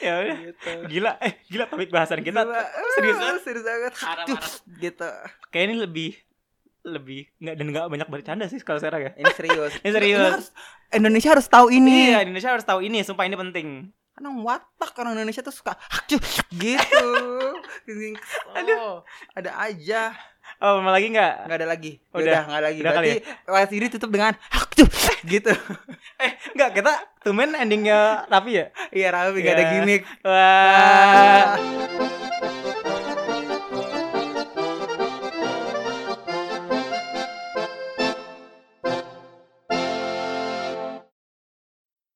[SPEAKER 2] ya udah
[SPEAKER 1] gitu.
[SPEAKER 2] gila eh gila topik bahasan kita
[SPEAKER 1] Gila.
[SPEAKER 2] serius banget.
[SPEAKER 1] serius banget.
[SPEAKER 2] Parah,
[SPEAKER 1] Aduh,
[SPEAKER 2] parah.
[SPEAKER 1] gitu.
[SPEAKER 2] kayak ini lebih lebih nggak dan nggak banyak bercanda sih kalau sekarang ya
[SPEAKER 1] Ini serius.
[SPEAKER 2] Ini serius.
[SPEAKER 1] harus- Indonesia harus tahu ini.
[SPEAKER 2] iya Indonesia harus tahu ini sumpah ini penting
[SPEAKER 1] Karena watak orang Indonesia tuh suka "Hacu,"
[SPEAKER 2] [laughs]
[SPEAKER 1] gitu. Aduh, ada aja.
[SPEAKER 2] oh mau lagi nggak
[SPEAKER 1] Nggak ada lagi. Ya
[SPEAKER 2] Udah.
[SPEAKER 1] Udah, nggak ada lagi.
[SPEAKER 2] Udah kali ya?
[SPEAKER 1] Berarti podcast ini tutup dengan "Hacu," gitu.
[SPEAKER 2] Enggak, kita tumen endingnya rapi ya?
[SPEAKER 1] Iya, Rafi nggak ada
[SPEAKER 2] Ya.
[SPEAKER 1] gimmick.
[SPEAKER 2] Wah.